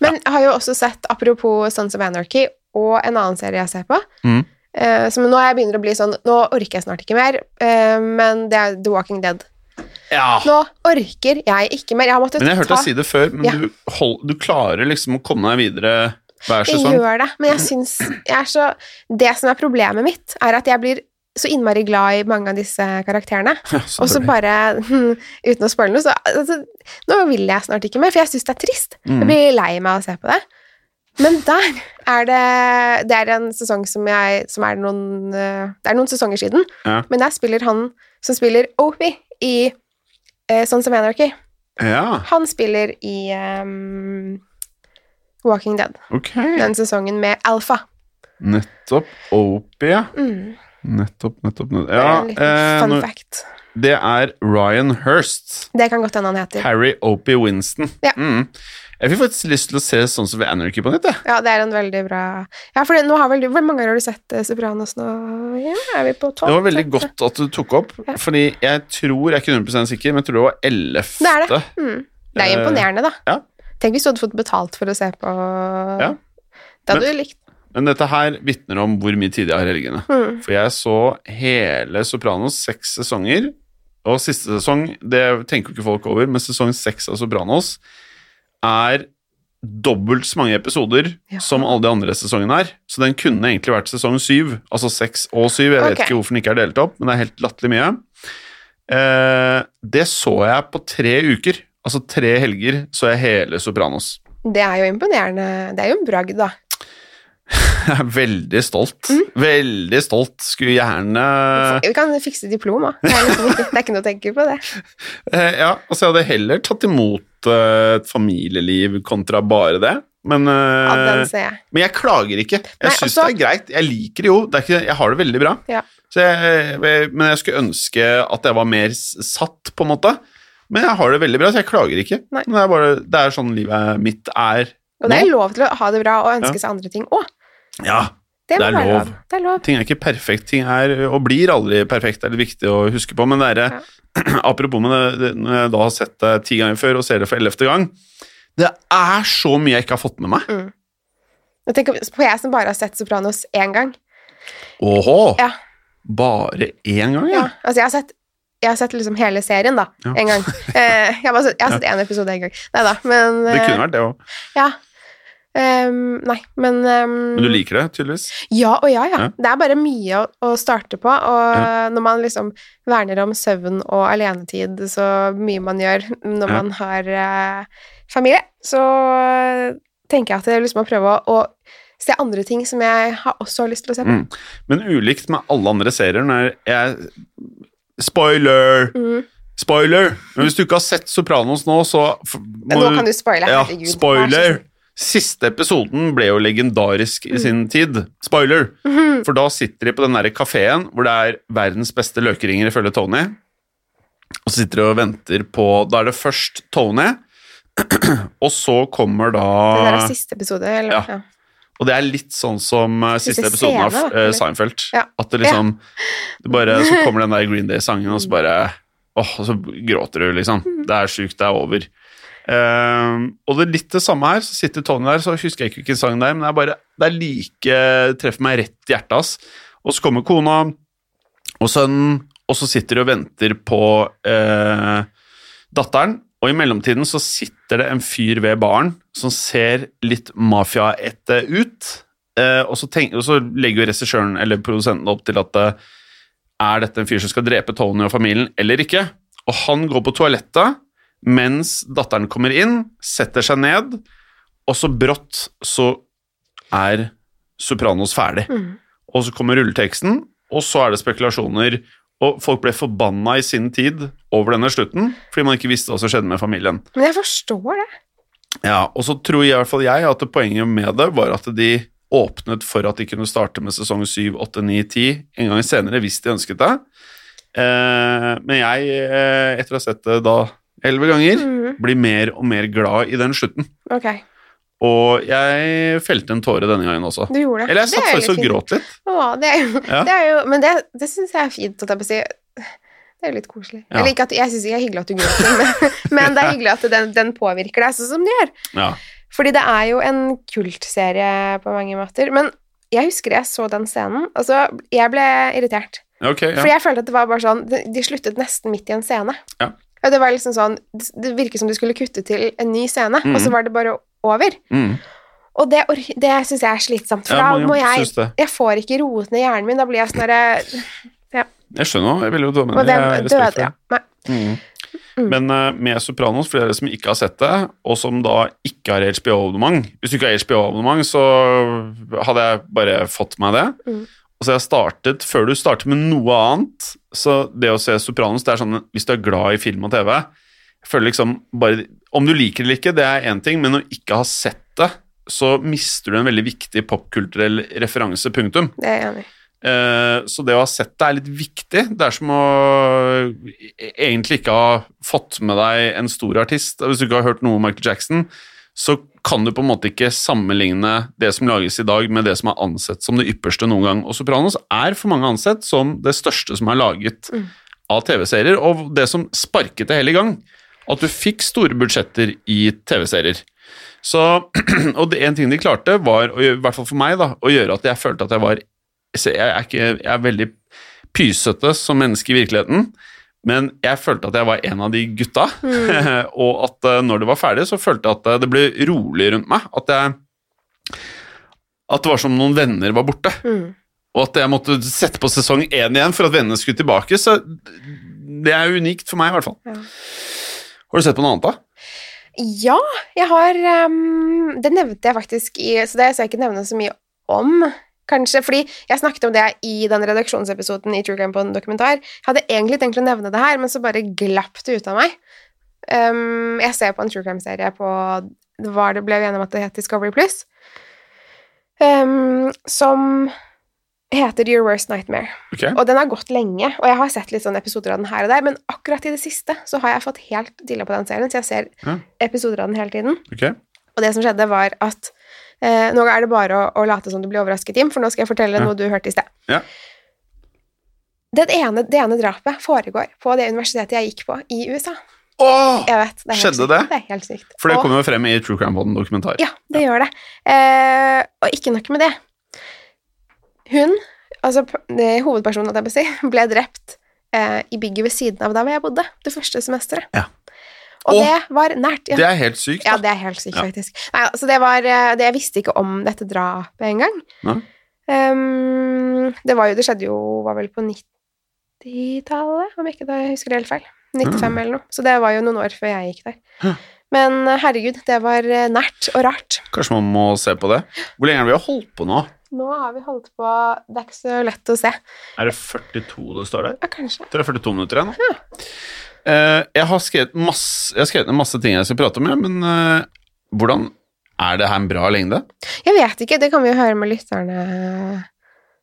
[SPEAKER 1] Men jeg har jo også sett, apropos Sons of Anarchy, og en annen serie jeg ser på,
[SPEAKER 2] Mm.
[SPEAKER 1] eh, som nå jeg begynner å bli sånn, nå orker jeg snart ikke mer, eh, men det er The Walking Dead.
[SPEAKER 2] Ja.
[SPEAKER 1] Nå orker jeg ikke mer, jeg har måttet
[SPEAKER 2] Men jeg hørte
[SPEAKER 1] ta...
[SPEAKER 2] deg si det før, men
[SPEAKER 1] Ja.
[SPEAKER 2] du, hold, du klarer liksom å komme deg videre hver
[SPEAKER 1] Jeg
[SPEAKER 2] sesong.
[SPEAKER 1] gjør det, men jeg syns jeg er så Det som er problemet mitt, er at jeg blir så innmari glad i mange av disse karakterene.
[SPEAKER 2] Ja,
[SPEAKER 1] Og så
[SPEAKER 2] selvfølgelig.
[SPEAKER 1] bare, hmm, uten å spoile noe, så altså, Nå vil jeg snart ikke mer, for jeg syns det er trist. Jeg
[SPEAKER 2] Mm.
[SPEAKER 1] blir lei meg av å se på det. Men der er det Det er en sesong som jeg som er noen, eh, Det er noen sesonger siden,
[SPEAKER 2] Ja.
[SPEAKER 1] men der spiller han som spiller Opie i eh, Sons of Anarchy.
[SPEAKER 2] Ja,
[SPEAKER 1] Han spiller i ehm, Walking Dead,
[SPEAKER 2] ok.
[SPEAKER 1] den sesongen med Alfa.
[SPEAKER 2] Nettopp. Opie, ja.
[SPEAKER 1] Mm.
[SPEAKER 2] Nettopp, nettopp, nettopp.
[SPEAKER 1] Det er
[SPEAKER 2] Ja,
[SPEAKER 1] en liten
[SPEAKER 2] eh,
[SPEAKER 1] fun
[SPEAKER 2] nå-
[SPEAKER 1] fact.
[SPEAKER 2] det er Ryan Hurst.
[SPEAKER 1] Det kan godt hende han heter.
[SPEAKER 2] Harry Opie Winston.
[SPEAKER 1] Ja.
[SPEAKER 2] Mm. Jeg fikk faktisk lyst til å se sånn som ved Anarchy på nytt, jeg.
[SPEAKER 1] Ja, det er en veldig bra Ja, for det- nå har vel du Hvor mange ganger har du sett eh, Sopranos nå? Ja, er vi på tolv?
[SPEAKER 2] Det var veldig godt at du tok opp,
[SPEAKER 1] Ja.
[SPEAKER 2] fordi jeg tror, jeg er ikke 100 sikker, men jeg tror det var 11.
[SPEAKER 1] Det er det. Mm. Det er
[SPEAKER 2] Eh,
[SPEAKER 1] imponerende, da.
[SPEAKER 2] ja.
[SPEAKER 1] Tenk hvis du hadde fått betalt for å se på
[SPEAKER 2] Ja.
[SPEAKER 1] Det
[SPEAKER 2] Men-
[SPEAKER 1] hadde du likt.
[SPEAKER 2] Men dette her vitner om hvor mye tid jeg har i helgene.
[SPEAKER 1] Mm.
[SPEAKER 2] For jeg så hele Sopranos seks sesonger, og siste sesong, det tenker jo ikke folk over, men sesong seks av Sopranos er dobbelt så mange episoder
[SPEAKER 1] Ja.
[SPEAKER 2] som alle de andre sesongene er. Så den kunne egentlig vært sesong syv, altså seks og syv. Jeg vet
[SPEAKER 1] Ok.
[SPEAKER 2] ikke hvorfor den ikke er delt opp, men det er helt latterlig mye. Eh, det så jeg på tre uker. Altså tre helger så jeg hele Sopranos.
[SPEAKER 1] Det er jo imponerende. Det er jo en bragd, da.
[SPEAKER 2] Jeg er veldig stolt.
[SPEAKER 1] Mm.
[SPEAKER 2] Veldig stolt. Skulle gjerne
[SPEAKER 1] Vi kan fikse diplom, da. Det er, liksom ikke, det er ikke noe å tenke på, det.
[SPEAKER 2] Eh, ja, altså jeg hadde heller tatt imot eh, et familieliv kontra bare det. Men, eh,
[SPEAKER 1] Ja, den ser jeg.
[SPEAKER 2] men jeg klager ikke.
[SPEAKER 1] Nei,
[SPEAKER 2] Jeg syns
[SPEAKER 1] altså-
[SPEAKER 2] det er greit. Jeg liker det jo. Det er ikke, jeg har det veldig bra.
[SPEAKER 1] Ja.
[SPEAKER 2] Så jeg, men jeg skulle ønske at jeg var mer s- satt, på en måte. Men jeg har det veldig bra, så jeg klager ikke.
[SPEAKER 1] Nei.
[SPEAKER 2] Men det, er bare, det er sånn livet mitt er.
[SPEAKER 1] Og det er
[SPEAKER 2] Nå?
[SPEAKER 1] lov til å ha det bra og ønske
[SPEAKER 2] Ja.
[SPEAKER 1] seg andre ting òg.
[SPEAKER 2] Ja,
[SPEAKER 1] Det, må
[SPEAKER 2] Det er
[SPEAKER 1] være
[SPEAKER 2] lov.
[SPEAKER 1] lov. Det er lov.
[SPEAKER 2] Ting er ikke perfekt, ting er og blir aldri perfekt, det er litt viktig å huske på. Men det er, apropos med det, det, når jeg da har sett det ti ganger før og ser det for ellevte gang Det er så mye jeg ikke har fått med meg.
[SPEAKER 1] Og Mm. Tenk på jeg som bare har sett Sopranos én gang.
[SPEAKER 2] Åhå!
[SPEAKER 1] Ja.
[SPEAKER 2] Bare én gang, ja.
[SPEAKER 1] Ja. Altså, jeg har sett jeg har sett liksom hele serien, da,
[SPEAKER 2] Ja.
[SPEAKER 1] en gang. Eh, jeg, har bare sett- jeg har sett én episode en gang. Nei da, men
[SPEAKER 2] Det
[SPEAKER 1] eh,
[SPEAKER 2] kunne vært det òg.
[SPEAKER 1] Ja. Ehm, nei, men ehm,
[SPEAKER 2] Men du liker det, tydeligvis?
[SPEAKER 1] Ja og ja, ja.
[SPEAKER 2] Ja.
[SPEAKER 1] Det er bare mye å, å starte på, og når man liksom verner om søvn og alenetid, så mye man gjør når
[SPEAKER 2] Ja.
[SPEAKER 1] man har eh, familie, så eh, tenker jeg at det er liksom å prøve å, å se andre ting som jeg har også har lyst til å se på.
[SPEAKER 2] Mm. Men ulikt med alle andre serier når jeg Spoiler!
[SPEAKER 1] Mm.
[SPEAKER 2] Spoiler! Men hvis du ikke har sett Sopranos nå, så f- må
[SPEAKER 1] Nå kan du spoile,
[SPEAKER 2] Ja,
[SPEAKER 1] herregud.
[SPEAKER 2] spoiler! Siste episoden ble jo legendarisk i
[SPEAKER 1] Mm.
[SPEAKER 2] sin tid. Spoiler!
[SPEAKER 1] Mhm.
[SPEAKER 2] For da sitter de på den derre kafeen hvor det er verdens beste løkringer, ifølge Tony. Og så sitter de og venter på Da er det først Tony, og så kommer da
[SPEAKER 1] Det der er siste episode, eller?
[SPEAKER 2] Ah. Ja. og det er litt sånn som eh, siste,
[SPEAKER 1] Siste
[SPEAKER 2] episoden av
[SPEAKER 1] scene, da,
[SPEAKER 2] eh,
[SPEAKER 1] eller?
[SPEAKER 2] Seinfeld.
[SPEAKER 1] Ja.
[SPEAKER 2] At det liksom det bare, Så kommer den der Green Day-sangen, og så bare Åh, og så gråter du, liksom.
[SPEAKER 1] Mm.
[SPEAKER 2] Det er sjukt, det er over. Ehm, og det er litt det samme her. Så sitter Tony der, så husker jeg ikke hvilken sang det er, men det er bare Det er like Treffer meg rett i hjertet, ass. Og så kommer kona og sønnen, og så sitter de og venter på eh, datteren. Og i mellomtiden så sitter det en fyr ved baren som ser litt mafiaete ut. Eh, og, så tenk, og så legger jo regissøren eller produsenten opp til at eh, er dette en fyr som skal drepe Tony og familien eller ikke? Og han går på toalettet mens datteren kommer inn, setter seg ned, og så brått så er Sopranos ferdig.
[SPEAKER 1] Mm.
[SPEAKER 2] Og så kommer rulleteksten, og så er det spekulasjoner. Og folk ble forbanna i sin tid over denne slutten, fordi man ikke visste hva som skjedde med familien.
[SPEAKER 1] Men jeg forstår det.
[SPEAKER 2] Ja, Og så tror jeg, i hvert fall jeg at poenget med det var at de åpnet for at de kunne starte med sesong 7, 8, 9, 10 en gang senere hvis de ønsket det. Eh, men jeg, eh, etter å ha sett det da elleve ganger,
[SPEAKER 1] Mhm.
[SPEAKER 2] blir mer og mer glad i den slutten.
[SPEAKER 1] Ok,
[SPEAKER 2] Og jeg felte en tåre denne gangen også.
[SPEAKER 1] du gjorde det.
[SPEAKER 2] Eller jeg
[SPEAKER 1] Det
[SPEAKER 2] satt
[SPEAKER 1] er jo
[SPEAKER 2] faktisk og
[SPEAKER 1] fint.
[SPEAKER 2] gråt litt.
[SPEAKER 1] Å, det er jo,
[SPEAKER 2] Ja.
[SPEAKER 1] det er jo Men det, det syns jeg er fint. At jeg bare sier- det er jo litt koselig.
[SPEAKER 2] Ja.
[SPEAKER 1] Eller ikke at, jeg syns ikke det er hyggelig at du gråter, men, men det er hyggelig at den, den påvirker deg sånn som den gjør.
[SPEAKER 2] Ja.
[SPEAKER 1] Fordi det er jo en kultserie på mange måter. Men jeg husker jeg så den scenen, og så jeg ble irritert.
[SPEAKER 2] Ok,
[SPEAKER 1] For
[SPEAKER 2] ja.
[SPEAKER 1] jeg følte at det var bare sånn De de sluttet nesten midt i en scene.
[SPEAKER 2] Ja.
[SPEAKER 1] Og det var liksom sånn Det det virket som du skulle kutte til en ny scene,
[SPEAKER 2] Mhm.
[SPEAKER 1] og så var det bare over.
[SPEAKER 2] Mm.
[SPEAKER 1] Og det, ork- det syns jeg er slitsomt, for
[SPEAKER 2] Ja,
[SPEAKER 1] da
[SPEAKER 2] mange
[SPEAKER 1] må jeg
[SPEAKER 2] syns det.
[SPEAKER 1] jeg får ikke roet ned hjernen min. Da blir jeg sånn derre
[SPEAKER 2] Jeg skjønner jo, jeg vil jo dømme
[SPEAKER 1] Og
[SPEAKER 2] det. Jeg
[SPEAKER 1] den
[SPEAKER 2] har respekt for
[SPEAKER 1] døde,
[SPEAKER 2] det.
[SPEAKER 1] ja. Nei.
[SPEAKER 2] Mm.
[SPEAKER 1] Mm.
[SPEAKER 2] Men eh, med Sopranos, for dere som ikke har sett det, og som da ikke har HBO-abonnement Hvis du ikke har HBO-abonnement, så hadde jeg bare fått meg det.
[SPEAKER 1] Mm.
[SPEAKER 2] Og så har jeg startet, Før du starter med noe annet Så det å se Sopranos, det er sånn hvis du er glad i film og TV jeg føler liksom bare, Om du liker det eller ikke, det er én ting, men å ikke ha sett det, så mister du en veldig viktig popkulturell referanse. Punktum.
[SPEAKER 1] Det er jeg enig i.
[SPEAKER 2] Eh, Så det å ha sett det er litt viktig. Det er som å e, egentlig ikke ha fått med deg en stor artist. Hvis du ikke har hørt noe om Michael Jackson, så kan du på en måte ikke sammenligne det som lages i dag, med det som er ansett som det ypperste noen gang. Og Sopranos er for mange ansett som det største som er laget
[SPEAKER 1] Mm.
[SPEAKER 2] av TV-serier, og det som sparket det hele i gang. At du fikk store budsjetter i TV-serier. Så, og det, en ting de klarte, var, å gjøre, i hvert fall for meg, da, å gjøre at jeg følte at jeg var så jeg, er ikke, jeg er veldig pysete som menneske i virkeligheten, men jeg følte at jeg var en av de gutta. og at eh, når det var ferdig, så følte jeg at eh, det ble rolig rundt meg. At, jeg, at det var som om noen venner var borte.
[SPEAKER 1] Mm.
[SPEAKER 2] Og at jeg måtte sette på sesong én igjen for at vennene skulle tilbake. Så det er unikt for meg, i hvert fall.
[SPEAKER 1] Ja.
[SPEAKER 2] Har du sett på noe annet, da?
[SPEAKER 1] Ja, jeg har ehm, Det nevnte jeg faktisk i Så det skal jeg ikke nevne så mye om, kanskje. Fordi jeg snakket om det i den redaksjonsepisoden i True Crime på en dokumentar. Jeg hadde egentlig tenkt å nevne det her, men så bare glapp det ut av meg. Ehm, jeg ser på en True Crime-serie på hva det ble vi enige om at det het Discovery Plus, ehm, som heter Your Worst Nightmare.
[SPEAKER 2] Ok.
[SPEAKER 1] Og den har gått lenge, og jeg har sett litt sånne episoder av den her og der, men akkurat i det siste så har jeg fått helt dilla på den serien, så jeg ser
[SPEAKER 2] Ja.
[SPEAKER 1] episoder av den hele tiden.
[SPEAKER 2] ok.
[SPEAKER 1] Og det som skjedde, var at eh, nå er det bare å, å late som du blir overrasket, Jim, for nå skal jeg fortelle
[SPEAKER 2] Ja.
[SPEAKER 1] noe du hørte i sted.
[SPEAKER 2] Ja.
[SPEAKER 1] Det ene, det ene drapet foregår på det universitetet jeg gikk på i USA.
[SPEAKER 2] Åh!
[SPEAKER 1] Jeg vet, det er helt
[SPEAKER 2] Skjedde
[SPEAKER 1] sykt.
[SPEAKER 2] det?
[SPEAKER 1] Det er helt sykt.
[SPEAKER 2] For det
[SPEAKER 1] Og-
[SPEAKER 2] kommer jo frem i True Crime Pod dokumentar.
[SPEAKER 1] ja, det gjør det. Eh, og ikke nok med det. Hun, altså p- det, hovedpersonen, hadde jeg på å si, ble drept eh, i bygget ved siden av der hvor jeg bodde, det første semesteret.
[SPEAKER 2] Ja.
[SPEAKER 1] Og
[SPEAKER 2] Å,
[SPEAKER 1] det var nært. Ja.
[SPEAKER 2] Det er helt sykt.
[SPEAKER 1] Ja,
[SPEAKER 2] da.
[SPEAKER 1] det er helt sykt,
[SPEAKER 2] Ja.
[SPEAKER 1] faktisk. Nei, altså, det var, eh, det, jeg visste ikke om dette drapet engang.
[SPEAKER 2] Nei.
[SPEAKER 1] Um, det var jo, det skjedde jo, var vel på 90-tallet, om ikke det, jeg husker det helt feil. 95
[SPEAKER 2] Mm.
[SPEAKER 1] eller noe. Så det var jo noen år før jeg gikk der.
[SPEAKER 2] Hæ.
[SPEAKER 1] Men eh, herregud, det var eh, nært og rart.
[SPEAKER 2] Kanskje man må se på det. Hvor lenge har vi holdt på nå?
[SPEAKER 1] Nå har vi holdt på, det er ikke så lett å se.
[SPEAKER 2] Er det 42 det står der?
[SPEAKER 1] Ja, kanskje.
[SPEAKER 2] Det er 42 minutter igjen. da. Eh, jeg, har skrevet masse, jeg har skrevet ned masse ting jeg skal prate om, ja, men eh, hvordan er det her en bra lengde?
[SPEAKER 1] Jeg vet ikke, det kan vi jo høre med lytterne.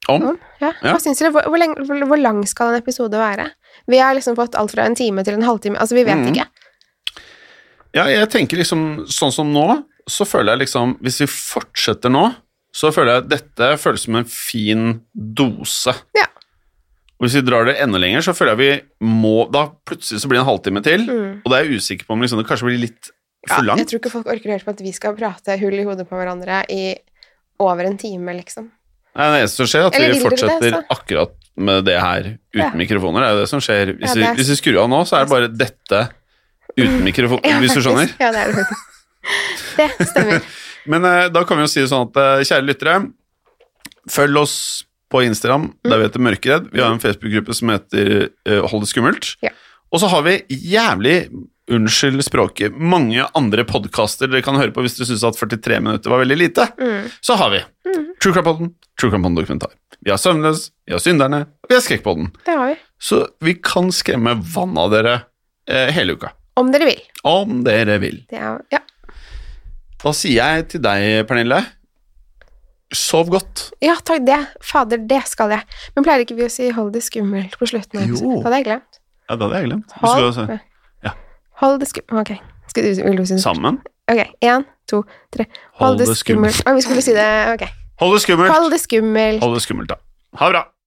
[SPEAKER 2] Om?
[SPEAKER 1] Om? Ja.
[SPEAKER 2] Ja.
[SPEAKER 1] Hva syns dere? Hvor, hvor, lenge, hvor, hvor lang skal en episode være? Vi har liksom fått alt fra en time til en halvtime, altså vi vet
[SPEAKER 2] Mm.
[SPEAKER 1] ikke.
[SPEAKER 2] Ja, jeg tenker liksom sånn som nå, så føler jeg liksom Hvis vi fortsetter nå, så føler jeg at dette føles som en fin dose.
[SPEAKER 1] Ja.
[SPEAKER 2] Og hvis vi drar det enda lenger, så føler jeg vi må Da plutselig så blir det en halvtime til,
[SPEAKER 1] Mm.
[SPEAKER 2] og da er jeg usikker på om liksom, det kanskje blir litt for
[SPEAKER 1] Ja, jeg
[SPEAKER 2] langt.
[SPEAKER 1] tror ikke folk orker å høre på at vi skal prate hull i hodet på hverandre i over en time, liksom.
[SPEAKER 2] Nei, det eneste som skjer, er at
[SPEAKER 1] Eller
[SPEAKER 2] vi
[SPEAKER 1] vil dere det,
[SPEAKER 2] fortsetter
[SPEAKER 1] så?
[SPEAKER 2] akkurat med det her uten
[SPEAKER 1] Ja.
[SPEAKER 2] mikrofoner. Det er jo det som skjer. Hvis,
[SPEAKER 1] Ja,
[SPEAKER 2] vi,
[SPEAKER 1] det er-
[SPEAKER 2] hvis vi skrur av nå, så er det bare dette uten mikrofon,
[SPEAKER 1] Ja,
[SPEAKER 2] hvis du skjønner.
[SPEAKER 1] faktisk. Ja, det er det faktisk. Det stemmer.
[SPEAKER 2] Men eh, da kan vi jo si det sånn at eh, kjære lyttere, følg oss på Instagram,
[SPEAKER 1] Mm.
[SPEAKER 2] der vi heter Mørkeredd. Vi har en Facebook-gruppe som heter eh, Hold det skummelt.
[SPEAKER 1] Ja.
[SPEAKER 2] Og så har vi jævlig, unnskyld språket, mange andre podkaster dere kan høre på hvis dere syns at 43 minutter var veldig lite.
[SPEAKER 1] Mm.
[SPEAKER 2] Så har vi True Crime Podden, True Crime Podden dokumentar. Vi har Søvnløs, vi har Synderne, og vi har Skrekkpodden.
[SPEAKER 1] Det har vi.
[SPEAKER 2] Så vi kan skremme vann av dere eh, hele uka.
[SPEAKER 1] Om dere vil.
[SPEAKER 2] Om dere vil.
[SPEAKER 1] Det er, ja.
[SPEAKER 2] Da sier jeg til deg, Pernille, sov godt.
[SPEAKER 1] ja, takk det. Fader, det skal jeg. Men pleier ikke vi å si 'hold det skummelt' på slutten? av
[SPEAKER 2] Jo.
[SPEAKER 1] episoden? Det hadde jeg glemt.
[SPEAKER 2] Ja, det hadde jeg glemt. Vi
[SPEAKER 1] Hold,
[SPEAKER 2] skal ja.
[SPEAKER 1] hold det skummelt Ok. Skal du, vil du si
[SPEAKER 2] se
[SPEAKER 1] det?
[SPEAKER 2] sammen.
[SPEAKER 1] Ok, én, to, tre. Hold, det skummelt. Å, vi skulle si det Ok.
[SPEAKER 2] Hold det skummelt.
[SPEAKER 1] Hold det skummelt.
[SPEAKER 2] Hold det skummelt, da. Ha det bra.